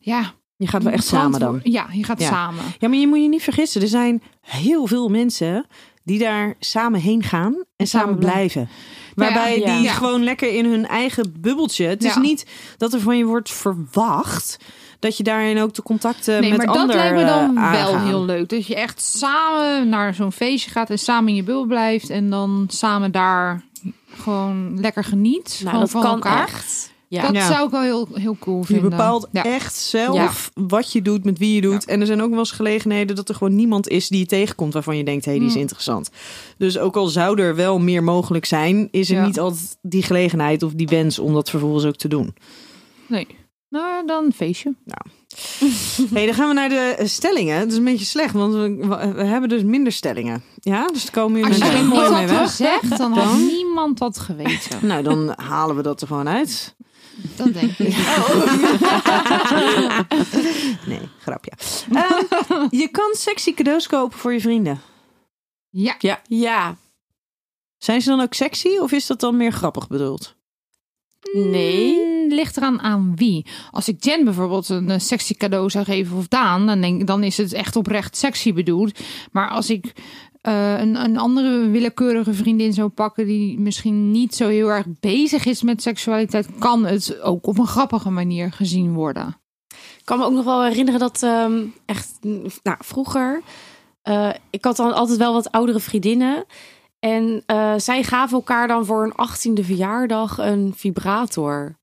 E: ja,
D: Je gaat wel echt samen dan.
E: verantwoord- Ja, je gaat
D: Ja.
E: samen.
D: Ja, maar je moet je niet vergissen. Er zijn heel veel mensen die daar samen heen gaan en, samen,
E: samen Nou
D: blijven. Waarbij
B: ja.
D: die
E: Ja.
D: gewoon lekker in hun eigen bubbeltje. Het is
E: Ja.
D: niet dat er van je wordt verwacht dat je daarin ook de contacten
E: Nee,
D: eh, met
E: maar dat
D: anderen
E: lijkt me dan
D: eh,
E: wel
D: aangaan.
E: heel leuk. Dat je echt samen naar zo'n feestje gaat en samen in je bubbel blijft. En dan samen daar gewoon lekker geniet.
B: Nou,
E: gewoon
B: dat
E: van
B: kan
E: elkaar.
B: echt. Ja.
E: Dat
D: Ja.
E: zou ik wel heel, heel cool
D: Je
E: vinden.
D: bepaalt
E: ja.
D: echt zelf wat je doet, met wie je doet. En er zijn ook wel eens gelegenheden dat er gewoon niemand is die je tegenkomt waarvan je denkt, hé, hey, die is
E: Hmm.
D: interessant. Dus ook al zou er wel meer mogelijk zijn, is er
E: Ja.
D: niet altijd die gelegenheid of die wens om dat vervolgens ook te doen.
E: Nee. Nou, dan een feestje.
D: Hey, dan gaan we naar de eh, stellingen. Het is een beetje slecht, want we, we- we hebben dus minder stellingen. Ja, dus er komen hier
E: Als je
D: nog
E: dat
D: geen
E: niet
D: mooie mee
E: had
D: weg.
E: gezegd, dan had
D: Dan?
E: niemand dat geweten.
D: Nou, dan halen we dat er gewoon uit.
E: Dat denk ik.
D: <laughs> Nee, grapje. Ehm, je kan sexy cadeaus kopen voor je vrienden.
E: Ja.
B: Ja.
D: Zijn ze dan ook sexy of is dat dan meer grappig bedoeld?
B: Nee.
E: Mm, Ligt eraan aan wie. Als ik Jen bijvoorbeeld een eh, sexy cadeau zou geven of Daan, dan, denk, dan is het echt oprecht sexy bedoeld. Maar als ik eh, een, een andere willekeurige vriendin zou pakken die misschien niet zo heel erg bezig is met seksualiteit, kan het ook op een grappige manier gezien worden.
B: Ik kan me ook nog wel herinneren dat ehm, echt mm, nou, vroeger. eh, ik had dan altijd wel wat oudere vriendinnen. En eh, zij gaven elkaar dan voor hun 18e verjaardag een vibrator.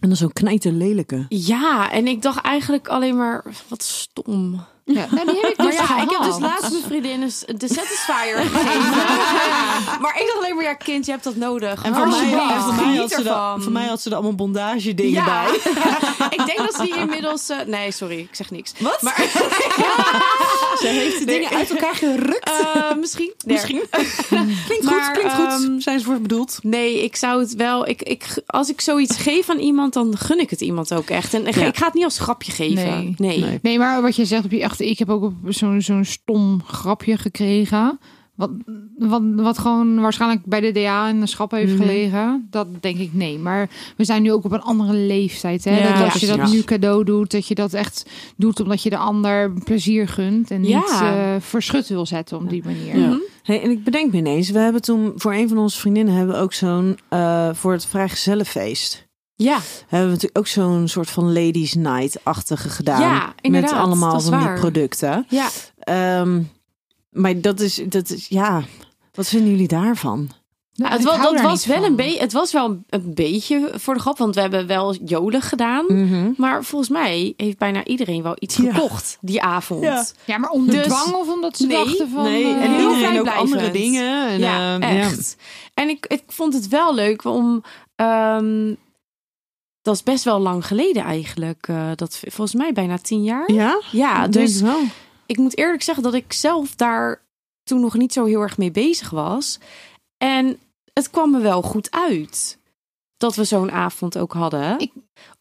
D: En dan zo'n knijten lelijke.
B: Ja, en ik dacht eigenlijk alleen maar wat stom.
E: Ja, nou, die
D: Oh,
E: heb
B: <laughs>
E: ik
B: Maar
E: dus
B: ja, ik heb dus
E: gehad.
B: laatst mijn vriendin een s- de
D: <laughs>
B: Satisfier gegeven. Maar ik dacht alleen maar, ja kind, je hebt dat nodig. Oh,
D: En voor mij,
B: Alsjeblieft,
D: en voor, mij
B: geniet
D: had ze de,
B: ervan.
D: voor mij had ze er allemaal bondage dingen
B: ja.
D: bij.
B: <laughs> ik denk dat ze die inmiddels... eh, nee, sorry, ik zeg niks.
D: Wat?
B: Maar,
D: <laughs> Ze heeft de dingen uit elkaar gerukt.
B: eh, <laughs> misschien. Nee.
D: Misschien. klinkt goed,
B: Maar,
D: klinkt
B: ehm,
D: goed. Zijn ze voor bedoeld?
B: Nee, ik zou het wel... Ik, ik, als ik zoiets geef aan iemand, dan gun ik het iemand ook echt. En ik,
C: Ja.
B: ik ga het niet als grapje geven.
E: Nee.
D: Nee.
E: Nee, maar wat je zegt op je echte, ik heb ook op zo'n zo'n stom grapje gekregen. Wat, wat, wat gewoon waarschijnlijk bij de DA in de schap heeft
B: Mhm.
E: gelegen. Dat denk ik nee. Maar we zijn nu ook op een andere leeftijd. Hè?
C: Ja,
E: dat als je
C: precies.
E: dat nu cadeau doet, dat je dat echt doet omdat je de ander plezier gunt. En
B: Ja.
E: niet eh, verschut wil zetten op die manier. Nou,
C: Ja.
B: Mhm.
D: Hey, en ik bedenk me ineens, we hebben toen voor een van onze vriendinnen hebben we ook zo'n eh, voor het vrijgezellenfeest.
B: Ja,
D: Hebben we natuurlijk ook zo'n soort van ladies night-achtige gedaan.
B: Ja, inderdaad,
D: Met allemaal
B: dat is
D: van die
B: waar.
D: producten.
B: ja.
D: Ehm, maar dat is, dat is, ja, wat vinden jullie daarvan?
E: Nou,
B: het
E: ik
B: was,
E: hou
B: dat
E: daar
B: was
E: niet
B: wel
E: van.
B: een beetje, het was wel een- een beetje voor de grap, want we hebben wel jolig gedaan.
E: Mm.
B: Maar volgens mij heeft bijna iedereen wel iets
D: Ja.
B: gekocht die avond.
D: Ja.
E: Ja, maar onder
B: Dus-
E: dwang of omdat ze
B: Nee,
E: dachten van...
D: nee,
E: eh,
B: heel
D: en iedereen ook
B: vrijblijvend.
D: andere dingen. En,
B: Ja,
D: ehm, ja.
B: echt. En ik, ik vond het wel leuk om ehm, dat is best wel lang geleden eigenlijk. eh, dat volgens mij bijna tien jaar.
D: Ja?
B: Ja,
D: Denk
B: dus
D: ik wel.
B: ik moet eerlijk zeggen dat ik zelf daar toen nog niet zo heel erg mee bezig was. En het kwam me wel goed uit dat we zo'n avond ook hadden.
E: Ik-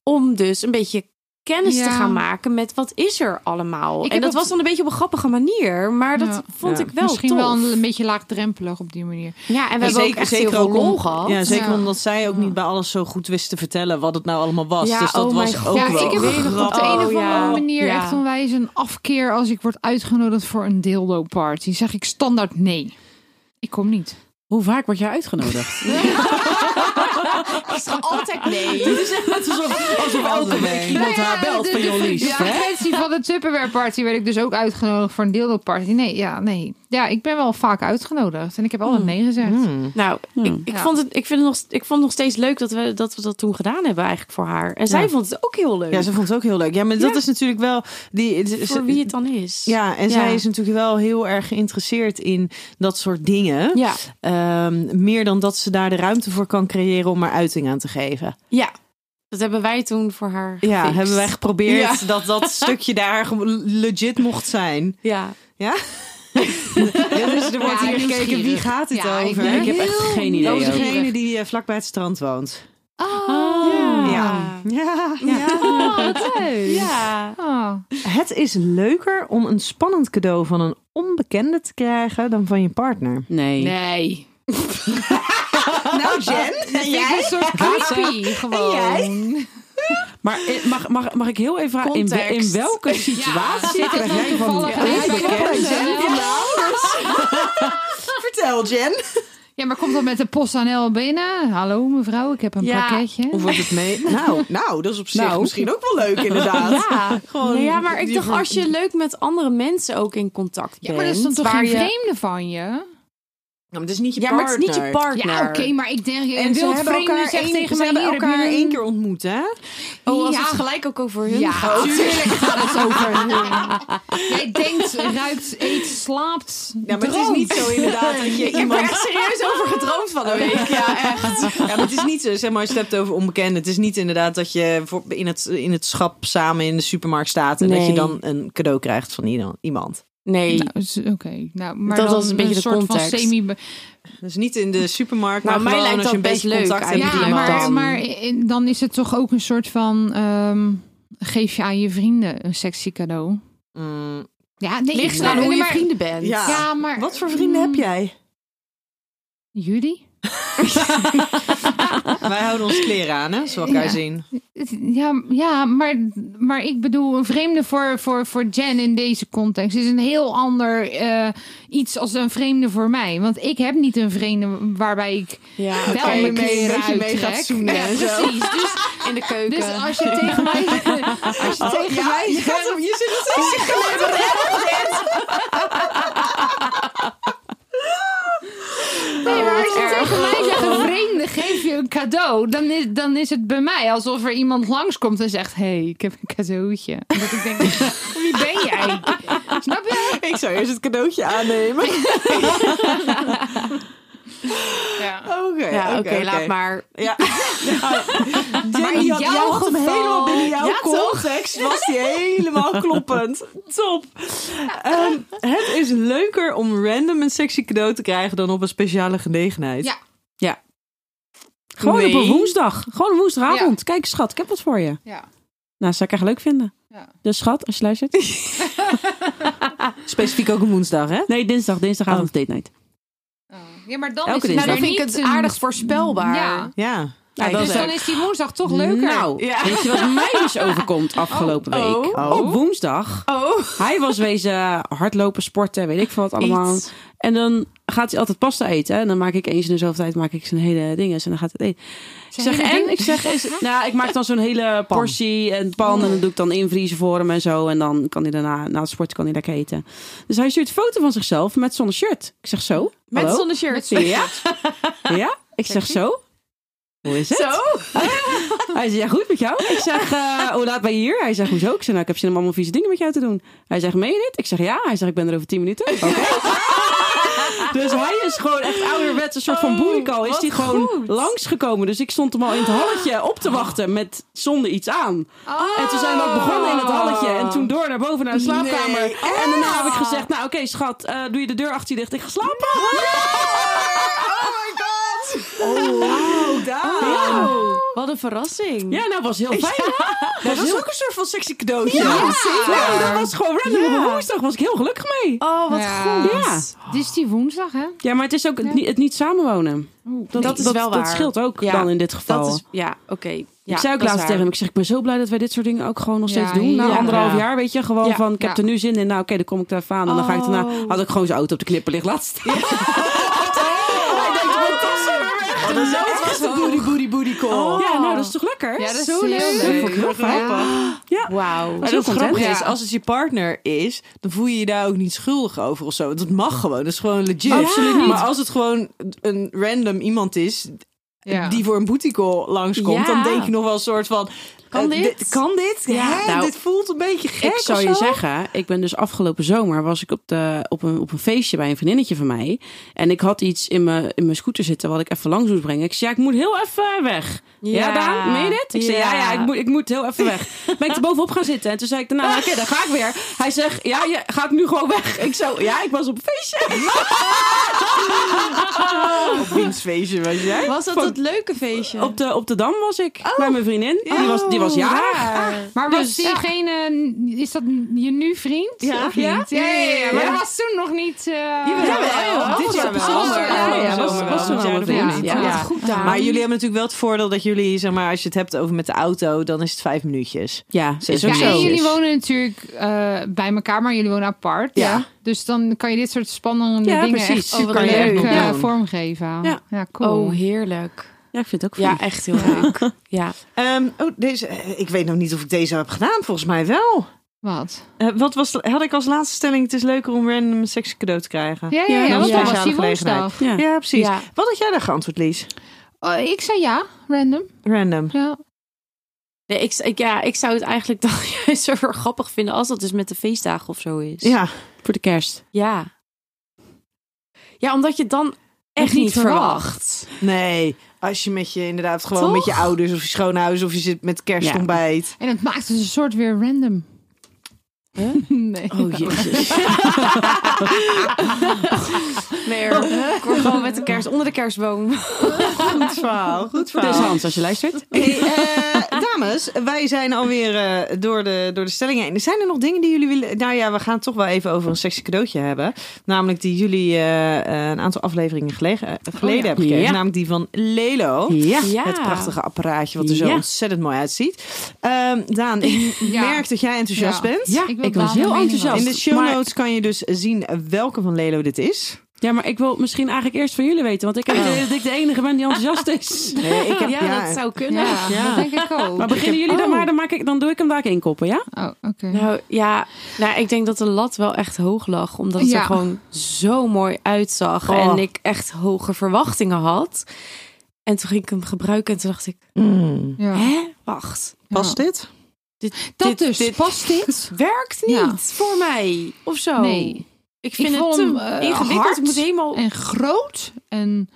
B: Om dus een beetje kennis te
E: Ja.
B: gaan maken met wat is er allemaal.
E: Ik
B: en
E: heb
B: dat
E: ook-
B: was dan een beetje op een grappige manier. Maar dat
E: Ja.
B: vond
D: Ja.
B: ik wel
E: Misschien
B: tof.
E: wel een, een beetje laagdrempelig op die manier.
B: Ja, en we hebben ook echt heel veel
D: om-
B: lol gehad.
D: Ja, zeker
E: Ja.
D: omdat zij ook
E: Ja.
D: niet bij alles zo goed wist te vertellen wat het nou allemaal was.
B: Ja,
D: dus dat
B: oh
D: was
B: mijn
D: ook
B: god.
E: ja,
D: wel
E: ik heb
B: weet nog
D: grappig.
E: op de een of
B: Oh,
E: andere
B: ja.
E: manier
B: Ja.
E: echt onwijs een afkeer als ik word uitgenodigd voor een dildo party. Zeg ik standaard nee. Ik kom niet.
C: Hoe vaak word jij uitgenodigd?
B: is er altijd Dus, nee.
D: Alsof elke week iemand
E: Nou ja,
D: haar belt
E: de-
D: van
E: de-
D: joh, Lies.
E: De frequentie van de Tupperware party werd ik dus ook uitgenodigd voor een dildo party. Nee, ja, nee. Ja, ik ben wel vaak uitgenodigd en ik heb
D: Mm.
E: altijd nee gezegd.
B: Nou, ik, ik,
E: Ja.
B: vond het, ik, vind het nog, ik vond het nog steeds leuk dat we, dat we dat toen gedaan hebben eigenlijk voor haar. En zij vond het ook heel leuk.
D: Ja, ze vond het ook heel leuk. Ja, maar dat
B: Ja.
D: is natuurlijk wel... Die, ze-
B: voor wie het dan is.
D: Ja, en zij is natuurlijk wel heel erg geïnteresseerd in dat soort dingen.
B: Ja,
D: Ehm, meer dan dat ze daar de ruimte voor kan creëren om er uiting aan te geven.
B: ja. Dat hebben wij toen voor haar
D: Ja,
B: gefixt.
D: hebben wij geprobeerd
B: Ja.
D: dat <laughs> dat stukje daar gewoon legit mocht zijn.
B: Ja.
D: Ja? <laughs> Ja, dus er wordt
E: Ja,
D: hier gekeken,
E: nieuwsgierig.
D: wie gaat het
E: Ja, ik
D: over?
E: ben
C: Ik heb echt
E: heel
C: geen idee
D: Dat is
C: ook.
E: nieuwsgierig.
D: degene die eh, vlakbij het strand woont.
B: Ah.
D: Oh, Ja. Ja.
E: Oh, wat leuk.
B: Ja.
E: Ah.
D: Het is leuker om een spannend cadeau van een onbekende te krijgen dan van je partner.
C: Nee.
E: Nee.
D: Nou, Jen, en
E: Jij een soort creepy gewoon.
C: Maar eh, mag, mag, mag ik heel even vragen, in, wel- in
B: Context.
C: welke
E: Ja,
C: situatie
E: zit er
C: <laughs> krijg jij van
E: toevallig een bekend, hè?
D: Vertel, Jen.
E: Ja, maar komt dat met de PostNL binnen? Hallo mevrouw, ik heb een
B: Ja.
E: pakketje.
D: Hoe wordt het mee? <laughs> Nou, nou, dat is op zich misschien ook wel leuk, inderdaad.
B: Ja.
D: Gewoon
B: Nee, ja, maar ik
D: die
B: dacht
D: ver-
B: als je leuk met andere mensen ook in contact bent.
E: Ja, maar dat is dan toch
B: waar
E: geen
B: je-
E: vreemde van je?
D: Ja, maar het is niet je
B: Ja, maar het is niet je
D: partner.
B: partner.
E: Ja, oké, maar ik denk...
D: En
E: een
D: ze
E: wild
D: hebben
E: vreemde
D: elkaar,
E: zegt
D: één,
E: tegen
D: ze
E: mij,
D: hebben
E: hier heb je
D: elkaar
E: een-
D: één keer ontmoet, hè?
B: Oh, was
E: Ja.
B: het gelijk ook over hun
E: <laughs> Ja,
B: gaat?
E: natuurlijk gaat het over
B: <laughs>
E: hun. Jij denkt, ruikt, eet, slaapt,
D: Ja, Nou, maar het is niet zo inderdaad dat
B: <laughs> Ik
D: je
B: heb er
D: iemand...
B: echt serieus over gedroomd van een week. <laughs> Ja, echt.
D: <laughs> Ja, maar het is niet zo, zeg maar, als je het hebt over onbekenden. Het is niet inderdaad dat je voor, in, het, in het schap samen in de supermarkt staat... en dat je
B: Nee.
D: dan een cadeau krijgt van ieder- iemand.
B: Nee.
E: Nou, is- Oké, nou, maar
B: Dat
E: dan
B: was een beetje de
E: soort
B: context.
E: van semi...
D: Dus niet in de supermarkt,
B: Nou,
D: maar
B: mij
D: gewoon
B: lijkt
D: als je een
B: dat
D: beetje
B: best leuk
D: contact hebt met
E: Ja,
D: iemand.
E: maar,
B: dan.
E: maar in- dan is het toch ook een soort van... ehm, geef je aan je vrienden een sexy cadeau?
D: Mm,
E: Ja, nee,
B: Ligt
E: ik-
B: eraan
E: nee,
B: hoe je
E: maar-
B: vrienden bent.
D: Ja.
E: Ja, maar...
D: Wat voor vrienden heb jij?
E: Jullie?
D: Wij houden ons kleren aan, hè? Zoals elkaar
E: Ja.
D: zien.
E: Het- Ja, ja maar, maar ik bedoel, een vreemde voor, voor, voor Jen in deze context is een heel ander eh, iets als een vreemde voor mij. Want ik heb niet een vreemde waarbij ik
B: Ja,
E: wel
D: oké,
E: mijn
D: een beetje
E: kleren
D: mee
E: uittrek.
D: gaat zoenen
E: Ja,
D: en zo.
E: precies. Dus,
B: in de keuken.
E: dus als je tegen
D: <laughs>
E: mij... Als je tegen mij...
D: Oh, je, gaat hem, je <laughs> zit nog steeds in
E: Nee, maar als je tegen mij zegt, een vreemde geef je een cadeau, dan is, dan is het bij mij alsof er iemand langskomt en zegt, hé, hey, ik heb een cadeautje. Dat ik denk, <laughs> wie ben jij? Snap je?
D: Ik zou eerst het cadeautje <laughs> aannemen. Oké,
E: Ja.
B: ja, oké,
D: Oh, oké,
B: laat
D: oké.
B: maar.
D: <laughs> Ja. Jenny,
E: in
D: had-
E: jouw
D: jij had hem
E: geval-
D: helemaal binnen jouw
E: Ja, toch?
D: context. Was die <laughs> helemaal kloppend. Top. Ehm, het is leuker om random een sexy cadeau te krijgen dan op een speciale gelegenheid.
E: Ja.
C: Gewoon op
B: Nee.
C: een woensdag. Gewoon een woensdagavond. Kijk, schat, ik heb wat voor je.
E: Ja.
C: Nou, zou ik echt leuk vinden.
E: Ja.
C: Dus schat, als je luistert.
D: Specifiek ook een woensdag, hè?
C: Nee, dinsdag. Dinsdagavond is date night.
E: Ja, maar dan
C: Elke
E: is het
B: Nou,
E: weer
C: dinsdag.
B: dan vind ik
E: niet
B: het
E: een-
B: aardig voorspelbaar.
E: Ja.
D: Ja.
C: Nou,
E: Dus
C: dat is
E: dan is die woensdag toch leuker.
C: Nou, weet je wat mij dus overkomt afgelopen
B: Oh,
C: week?
D: oh.
C: Op woensdag.
B: Oh,
C: Hij was wezen hardlopen, sporten, weet ik veel wat allemaal.
B: Iets.
C: En dan gaat hij altijd pasta eten. hè. En dan maak ik eens in de zoveel tijd maak ik zijn hele dinges. En dan gaat het eten. Ik zeg,
E: hele
C: en
E: ding?
C: ik zeg, is, nou, ik maak dan zo'n hele portie en pan. En dan doe ik dan invriezen voor hem en zo. En dan kan hij daarna, na het sporten, kan hij lekker eten. Dus hij stuurt een foto van zichzelf met zonder shirt. Ik zeg, zo?
B: met
C: hallo?
B: zonder shirt.
C: Ja?
B: <laughs>
C: ja? Ik zeg, zo? Hoe is het?
D: <laughs> Oh
B: Zo?
C: <laughs> Hij zegt, ja goed met jou? Ik
B: <laughs>
C: zeg, eh, hoe laat ben je hier? Hij zegt, hoezo? Ik zeg, nou, ik heb zin
B: <laughs>
C: om allemaal vieze dingen met jou te doen. Hij zegt, meen je dit? Ik zeg, ja. Hij zegt, ik ben er over tien minuten. Oké. Dus hij is gewoon echt ouderwets, een soort van boenikal. Is
B: Oh, wat
C: hij gewoon
B: goed.
C: langsgekomen. Dus ik stond hem al in het halletje op te wachten met zonder iets aan. En toen zijn we ook begonnen in
B: Oh.
C: het halletje. En toen door naar boven naar de slaapkamer. en daarna heb ik
B: Oh.
C: gezegd, nou oké schat, eh, doe je de deur achter je dicht. Ik ga slapen.
D: Oh, daar.
B: Wat een verrassing.
C: Ja, nou was heel fijn.
D: Dat was ook een soort van sexy cadeautje.
C: Ja, Nou, dat was gewoon random. Op een woensdag was ik heel gelukkig mee.
B: Oh, wat
E: Ja.
B: goed.
C: Ja.
E: Dit is die woensdag, hè?
C: Ja, maar het is ook het, niet, het niet samenwonen.
B: Dat, is wel waar.
C: Dat scheelt ook
B: Ja,
C: dan in dit geval.
B: Dat is, ja, oké. Ja,
C: ik zei ook
B: dat is
C: laatst
B: waar.
C: tegen hem, ik zeg, ik ben zo blij dat wij dit soort dingen ook gewoon nog steeds
E: Ja,
C: doen. Na
E: ja.
C: anderhalf
E: Ja.
C: jaar, weet je, gewoon
B: Ja.
C: van, ik heb
E: Ja.
C: er nu zin in. Nou, oké, dan kom ik daar even aan. En dan ga ik daarna,
B: Oh.
C: had ik gewoon zijn auto op de knippen liggen laten staan. <laughs>
D: Oh, Dat is het was de booty booty booty call.
C: Ja, nou, dat is toch lekker?
E: Ja, dat is
C: zo
E: heel
C: leuk.
E: leuk.
C: Dat vond ik heel fijn.
E: Ja.
B: Wauw.
D: Maar dat
C: Zo content.
D: grappige is,
E: Ja.
D: als het je partner is, dan voel je je daar ook niet schuldig over of zo. Dat mag gewoon, dat is gewoon legit.
C: Absoluut niet.
D: Maar als het gewoon een random iemand is
E: Ja.
D: die voor een booty call langskomt,
B: Ja.
D: dan denk je nog wel een soort van...
B: Kan
D: eh,
B: dit?
D: kan dit?
B: Ja.
D: Hè?
C: Nou,
D: dit voelt een beetje gek
C: Ik zou
D: of
C: je
D: zo.
C: zeggen, ik ben dus afgelopen zomer was ik op, de, op, een, op een feestje bij een vriendinnetje van mij. En ik had iets in mijn, in mijn scooter zitten wat ik even langs moest brengen. Ik zei, ja, ik moet heel even weg. Ja,
B: Ja.
C: Daan, meen je dit? Ik zei, ja,
B: Ja.
C: ja, ik moet, ik moet heel even weg. Ben ik er bovenop gaan zitten. En toen zei ik daarna, oké, daar ga ik weer. Hij zegt, ja, je gaat nu gewoon weg. Ik zo, ja, ik was op een feestje.
D: Op winstfeestje, weet je.
B: Was dat het leuke feestje?
C: Op de, op de Dam was ik bij mijn vriendin. Die was, die was jarig.
E: Maar was
C: Dus-
E: diegene, is dat je nu vriend?
B: Ja.
E: Of niet?
B: Ja?
E: Ja, ja, ja, ja. Maar
C: Ja.
E: dat was toen nog niet... eh,
D: Jawel, dit jaar wel.
C: zomer.
D: Ja, ja,
C: was-
D: zomer
C: was
D: wel.
C: toen al
D: Ja.
C: vriendin.
D: Ja.
B: Oh, wat
E: Ja.
B: goed daar.
D: Maar jullie hebben natuurlijk wel het voordeel dat jullie, zeg maar, als je het hebt over met de auto, dan is het vijf minuutjes.
C: Ja, is ook
E: Ja, en
C: zo.
E: jullie wonen natuurlijk eh, bij elkaar, maar jullie wonen apart.
D: Ja.
E: Dus dan kan je dit soort spannende
C: Ja,
E: dingen echt
C: precies.
B: Oh, wat
E: super leuk eh,
B: leuk.
D: Ja.
E: vormgeven.
C: Ja.
E: cool.
B: Oh, heerlijk.
C: Ja, ik vind het ook fijn.
B: Ja, echt heel
C: <laughs>
B: leuk. Ja.
D: Ehm, oh, deze, ik weet nog niet of ik deze heb gedaan. Volgens mij wel.
E: Wat?
D: Eh, wat was, had ik als laatste stelling? Het is leuker om random een seks cadeau te krijgen.
E: Ja, ja, ja,
C: dat
E: want
C: was
E: dat
D: een
E: was die
D: speciale
E: woensdag.
C: Ja.
D: Ja, precies.
B: Ja.
D: Wat had jij daar geantwoord, Lies?
E: Oh, ik zei ja, random.
D: Random.
E: Ja.
B: Nee, ik, ik- ja, ik zou het eigenlijk dan <laughs> juist zo grappig vinden als dat dus met de feestdagen of zo is.
D: Ja.
C: Voor de kerst.
B: Ja, ja omdat je het dan echt
E: niet
B: niet verwacht.
D: Nee. Als je met je inderdaad gewoon
B: Toch?
D: met je ouders of je schoonouders of je zit met kerstontbijt.
E: En het maakte ze een soort weer random. <laughs> Nee.
C: Oh, jezus.
B: Nee, hoor. <laughs> ik word gewoon met de kerst onder de kerstboom.
D: <laughs> Goed verhaal. Goed
C: <laughs> Dus Hans, als je luistert.
D: Hey, eh, dames, wij zijn alweer eh, door, de, door de stellingen heen. Zijn er nog dingen die jullie willen... Nou ja, we gaan het toch wel even over een sexy cadeautje hebben. Namelijk die jullie eh, eh, een aantal afleveringen gelegen, eh, geleden
C: ja.
D: hebben gekregen.
C: Ja.
D: Namelijk die van Lelo.
C: Oh, Ja.
B: Ja.
D: Het prachtige apparaatje wat er zo
C: Ja.
D: ontzettend mooi uitziet. Ehm, Daan, ik
E: <laughs> Ja.
D: merk dat jij enthousiast
E: Ja.
D: bent.
C: Ja,
E: Ik
C: ik,
E: wil
C: was
E: Daan een
C: heel
E: mening
C: enthousiast.
D: In de show
C: Maar-
D: notes kan je dus zien welke van Lelo dit is.
C: ja, maar ik wil misschien eigenlijk eerst van jullie weten. Want ik heb het idee dat ik de enige <laughs> ben die enthousiast is.
D: ik heb,
B: ja, dat eh, zou kunnen.
E: Ja,
D: Ja.
E: dat denk ik ook.
C: Maar beginnen jullie dan maar, dan, maak ik, dan doe ik hem daar ook in koppen, ja?
E: Oh, oké.
B: Nou ja, nou, ik denk dat de lat wel echt hoog lag. Omdat het
E: Ja.
B: er gewoon zo mooi uitzag.
D: Oh.
B: En ik echt hoge verwachtingen had. En toen ging ik hem gebruiken en toen dacht ik,
D: Mm.
E: Ja.
B: hè, wacht.
D: Past dit?
B: Dit,
E: Dat
B: dit-
E: dus,
B: dit
E: past dit?
B: werkt niet
E: Ja.
B: voor mij. Of zo.
E: Nee.
B: Oh. Ik vind
E: Ik
B: het
E: vond
B: te
E: hem, eh,
B: ingewikkeld.
E: hard.
B: Het moet helemaal...
E: En groot en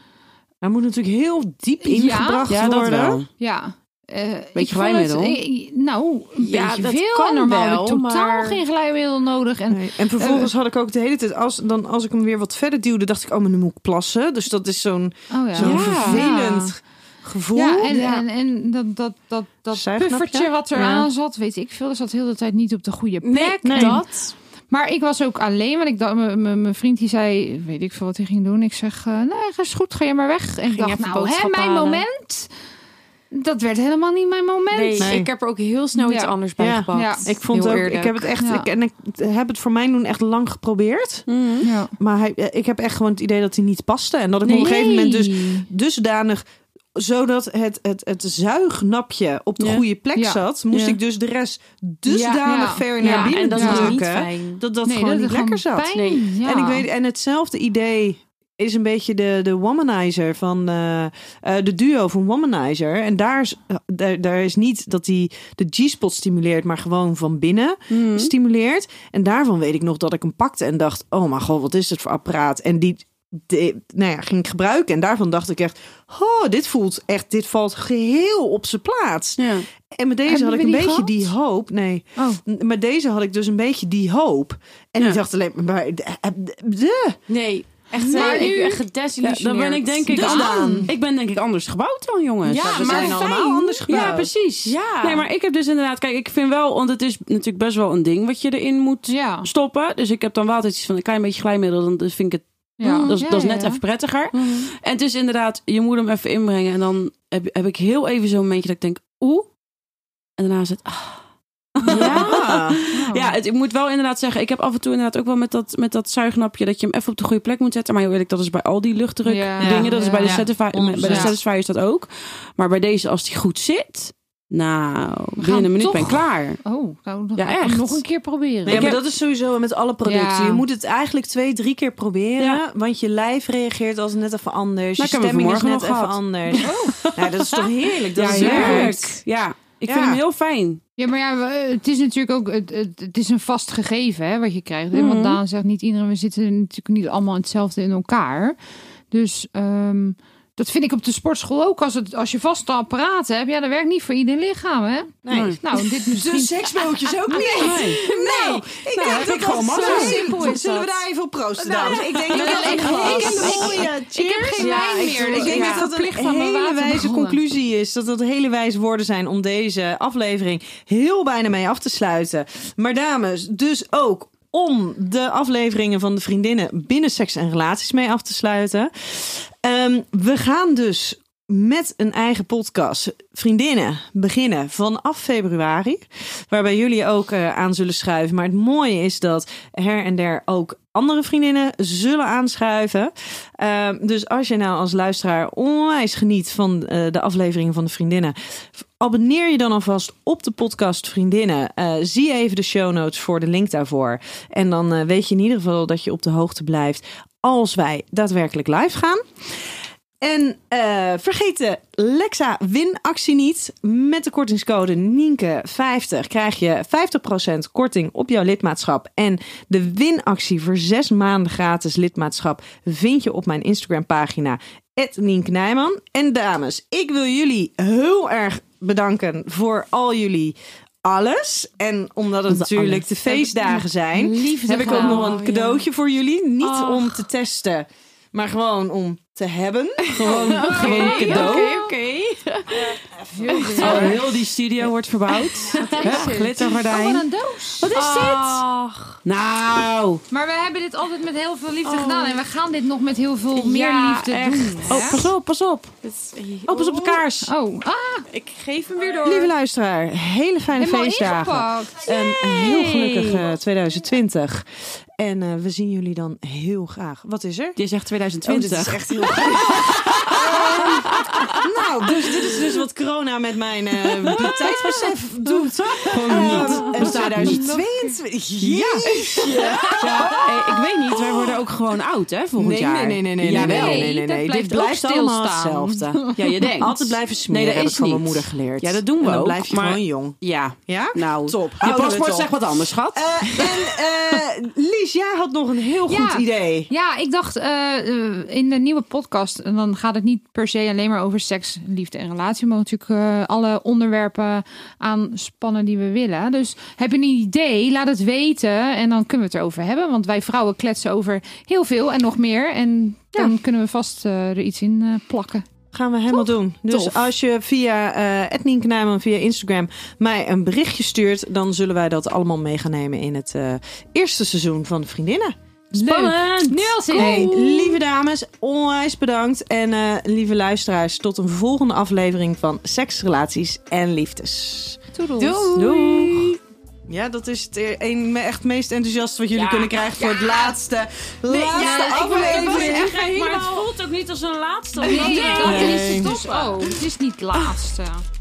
D: Hij moet natuurlijk heel diep ingebracht
C: Ja, dat
D: worden.
C: wel.
E: ja. eh, ik vond
C: glijmiddel?
E: het- ik- nou, een
B: Ja,
E: beetje
B: dat
E: veel.
B: kan
E: en normaal heb ik
B: wel,
E: totaal
B: maar-
E: geen glijmiddel nodig. En
D: Nee, En vervolgens had ik ook de hele tijd, als, dan, als ik hem weer wat verder duwde, dacht ik, oh, maar nu moet ik plassen. Dus dat is zo'n
E: Oh ja.
D: zo'n
B: Ja.
D: vervelend gevoel.
E: Ja, en,
B: Ja.
E: en, en dat, dat, dat, dat
D: Zuignapje?
E: puffertje wat er
D: Ja.
E: aan zat, weet ik veel, dus dat heel de tijd niet op de goede plek.
B: Nee, dat.
E: Maar ik was ook alleen, want ik dacht, m- m- mijn vriend die zei, weet ik veel wat hij ging doen. Ik zeg, eh nee, is goed, ga je maar weg. En ik dacht,
B: even
E: nou, hè,
B: boodschappen
E: mijn
B: halen.
E: moment. Dat werd helemaal niet mijn moment.
B: Nee,
D: Nee.
B: ik heb er ook heel snel iets
E: Ja.
B: anders bij
D: Ja.
B: gepakt.
E: Ja.
D: ik vond
B: Heel
D: ook,
B: eerlijk.
D: ik heb het echt,
E: Ja.
D: ik, en ik heb het voor mij doen echt lang geprobeerd.
E: Ja.
D: Maar hij, eh, ik heb echt gewoon het idee dat hij niet paste. En dat ik op een gegeven moment dus dusdanig zodat het, het, het zuignapje op de
C: Ja.
D: goede plek
E: Ja.
D: zat, moest
C: Ja.
D: ik dus de rest dusdanig
E: Ja.
D: ver
E: Ja,
D: naar
B: Ja,
D: binnen
B: en dat
E: Ja.
B: is niet
D: drukken,
B: fijn.
D: dat dat
E: Nee,
D: gewoon
E: dat
D: niet
E: het
D: lekker
E: gewoon
D: zat.
E: pijn-
B: Nee.
E: ja.
D: En, ik weet, en hetzelfde idee is een beetje de, de womanizer van eh, eh, de duo van womanizer. En daar is, eh, daar, daar is niet dat hij de G-spot stimuleert, maar gewoon van binnen
E: Hmm.
D: stimuleert. En daarvan weet ik nog dat ik hem pakte en dacht: oh mijn god, wat is dit voor apparaat? En die de, nou ja, ging ik gebruiken. En daarvan dacht ik echt, oh, dit voelt echt, dit valt geheel op zijn plaats.
C: Ja.
D: En met deze
E: Hebben
D: had ik
E: we
D: een
E: die
D: beetje
E: gehad?
D: die hoop. Nee,
E: Oh.
D: N- met deze had ik dus een beetje die hoop. En
C: Ja.
D: ik dacht alleen maar, maar, eh, eh,
B: Nee, echt.
E: Maar
B: Maar ik
E: nu-
B: ben echt
C: Ja,
B: gedesillusioneerd.
C: dan ben ik denk ik
D: Dus
C: aan.
D: dan.
C: Ik ben denk ik anders gebouwd dan jongens.
B: Ja,
D: we
B: maar
D: zijn allemaal
B: fijn.
D: anders gebouwd.
C: Ja, precies.
B: Ja.
C: Nee, maar ik heb dus inderdaad, kijk, ik vind wel, want het is natuurlijk best wel een ding wat je erin moet
E: Ja.
C: stoppen. Dus ik heb dan wel altijd iets van een klein beetje glijmiddel, dan vind ik het,
E: Ja.
C: dat, is,
E: Mm, Ja,
C: dat is
E: ja,
C: net
E: ja.
C: even prettiger. En het is inderdaad, je moet hem even inbrengen en dan heb, heb ik heel even zo'n momentje dat ik denk, oeh. En daarna is het, ah.
D: Ah. Ja.
E: Oh. Nou.
C: Ja, het, ik moet wel inderdaad zeggen, ik heb af en toe inderdaad ook wel met dat, met dat zuignapje dat je hem even op de goede plek moet zetten. Maar heel eerlijk, dat is bij al die luchtdruk
E: Ja.
C: dingen, dat is bij de,
E: Ja.
C: Satisfy, bij de
E: Ja.
C: Satisfyer is dat ook. Maar bij deze, als die goed zit, nou, binnen een minuut
E: toch-
C: ben ik klaar.
E: Oh, nou, dan
C: Ja,
E: ga ik hem
C: echt.
E: nog een keer proberen.
D: Nee,
C: Ik
D: maar
C: heb-
D: dat is sowieso met alle producten.
E: Ja.
D: Je moet het eigenlijk twee, drie keer proberen.
C: Ja.
D: Want je lijf reageert als het net even anders.
C: Nou, ik
D: je
C: heb hem
D: stemming is
C: vanmorgen
D: net
C: nog
D: even
C: gehad.
D: anders. Nou, dat is toch heerlijk? Dat
C: ja,
D: is
C: heerlijk.
D: heerlijk.
C: Ja, ik
D: Ja.
C: vind hem heel fijn.
E: Ja, maar ja, we- het is natuurlijk ook het, het, het is een vast gegeven hè, wat je krijgt. hè.
C: Mhm.
E: Want Daan zegt niet iedereen, we zitten natuurlijk niet allemaal hetzelfde in elkaar. Dus ehm, dat vind ik op de sportschool ook. Als, het, als je vaste apparaten hebt, ja, dat werkt niet voor ieder lichaam, hè?
C: Nee. Dus
E: Nou,
C: <laughs>
E: dit misschien.
D: De seksbootjes ook niet.
C: Nee.
D: Nou, ik denk dat
C: ik gewoon
D: dat
C: mazzel.
D: zo
E: Simpel
D: simpel
E: is
D: is. Zullen we
E: dat.
D: daar even op proosten, dames? Ik
E: <laughs>
D: denk dat dat
E: Nou, ik-
D: een
E: ik heb
D: hele
E: een
D: mooie...
E: Ik heb geen
B: Ja,
E: lijn
B: ik
E: meer.
B: doe-
E: Ik,
D: Ik
E: ben
D: denk
E: echt
D: dat dat
E: verplicht
D: een
E: van mijn
D: hele
E: water
D: wijze
E: begonnen.
D: conclusie is. Dat dat hele wijze woorden zijn om deze aflevering heel bijna mee af te sluiten. Maar dames, dus ook om de afleveringen van de vriendinnen binnen seks en relaties mee af te sluiten. Ehm, we gaan dus met een eigen podcast, vriendinnen, beginnen vanaf februari. Waarbij jullie ook eh, aan zullen schuiven. Maar het mooie is dat her en der ook andere vriendinnen zullen aanschuiven. Ehm, dus als je nou als luisteraar onwijs geniet van eh, de afleveringen van de vriendinnen. Abonneer je dan alvast op de podcast Vriendinnen. Eh, zie even de show notes voor de link daarvoor. En dan eh, weet je in ieder geval dat je op de hoogte blijft als wij daadwerkelijk live gaan. En eh, vergeet de Lexa winactie niet. Met de kortingscode Nienke50 krijg je 50% korting op jouw lidmaatschap. En de winactie voor zes maanden gratis lidmaatschap vind je op mijn Instagram pagina. Nienke Nijman. En dames, ik wil jullie heel erg bedanken voor al jullie alles. En omdat het natuurlijk de feestdagen zijn,
E: Liefde
D: heb ik ook
E: verhaal,
D: nog een
E: ja.
D: cadeautje voor jullie. Niet
E: Ach.
D: om te testen, maar gewoon om te <laughs> hebben. Gewoon,
C: Gewoon
D: gewoon cadeau.
B: Oké, oké.
C: Oh, heel die studio wordt verbouwd. Hup,
E: Oh, wat
C: Glittergordijn.
E: een doos.
C: Wat is dit?
B: Ach,
C: Nou.
E: Maar we hebben dit altijd met heel veel
C: Oh.
E: liefde gedaan. En we gaan dit nog met heel veel meer
B: Ja,
E: liefde doen. hè?
C: Oh, pas op, pas op.
B: dit is
C: Oh, pas op de kaars.
E: Oh, ah,
B: Ik geef hem weer door.
D: Lieve luisteraar, hele fijne
E: helemaal
D: feestdagen.
E: ingepakt.
D: En een heel gelukkig eh, 2020. En eh, we zien jullie dan heel graag. Wat is er?
C: Dit is echt
D: Oh, dit
C: 2020.
D: is echt heel <laughs> Nou, dus dit is dus wat corona met mijn <laughs> eh
C: <laughs>
D: tijdsbesef doet.
C: Gewoon niet.
D: Eh, en
C: Bestaat niet.
D: 2022. Jeetje.
C: Ja, eh, ik weet niet, wij worden ook gewoon oud, hè, volgend
D: Nee,
C: jaar.
D: nee, nee, nee, nee, nee, nee,
C: Jawel.
D: nee, nee, nee.
E: dat blijft
D: Dit blijft
E: ook
D: allemaal
E: stilstaan.
D: hetzelfde.
C: Ja,
D: <laughs>
C: je denkt.
D: Altijd blijven smeren,
C: Nee, dat
D: heb
C: is
D: ik van mijn
C: niet.
D: moeder geleerd.
C: Ja, dat doen we
D: en dan
C: ook,
D: blijf je
C: maar-
D: gewoon jong.
C: Ja,
D: Ja?
C: nou.
D: Top.
C: Je
D: Houden we het
C: paspoort
D: op.
C: zegt wat anders, schat.
D: Eh, en eh Lies, jij had nog een heel
E: Ja.
D: goed idee.
E: Ja, ik dacht eh, eh, in de nieuwe podcast, en dan gaat het niet per se alleen maar over seks, liefde en relatie, maar natuurlijk eh, alle onderwerpen aanspannen die we willen. Dus heb je een idee, laat het weten en dan kunnen we het erover hebben. Want wij vrouwen kletsen over heel veel en nog meer. En dan kunnen we vast eh, er iets in eh, plakken.
D: Gaan we helemaal doen. Dus
E: Tof.
D: als je via eh Ednien Knijman, via Instagram, mij een berichtje stuurt, dan zullen wij dat allemaal mee gaan nemen in het eh, eerste seizoen van de Vriendinnen.
E: Spannend! Nu al zin in.
D: Hey, lieve dames, onwijs bedankt. En eh, lieve luisteraars, tot een volgende aflevering van Seks, Relaties en Liefdes.
E: Toedels.
D: Doei. Ja, dat is het e- een, me- echt meest enthousiaste wat jullie kunnen krijgen voor het laatste, laatste aflevering.
B: maar het voelt ook niet als een laatste.
E: Nee, dat
D: Nee.
E: is het toch. Oh, het is niet het laatste.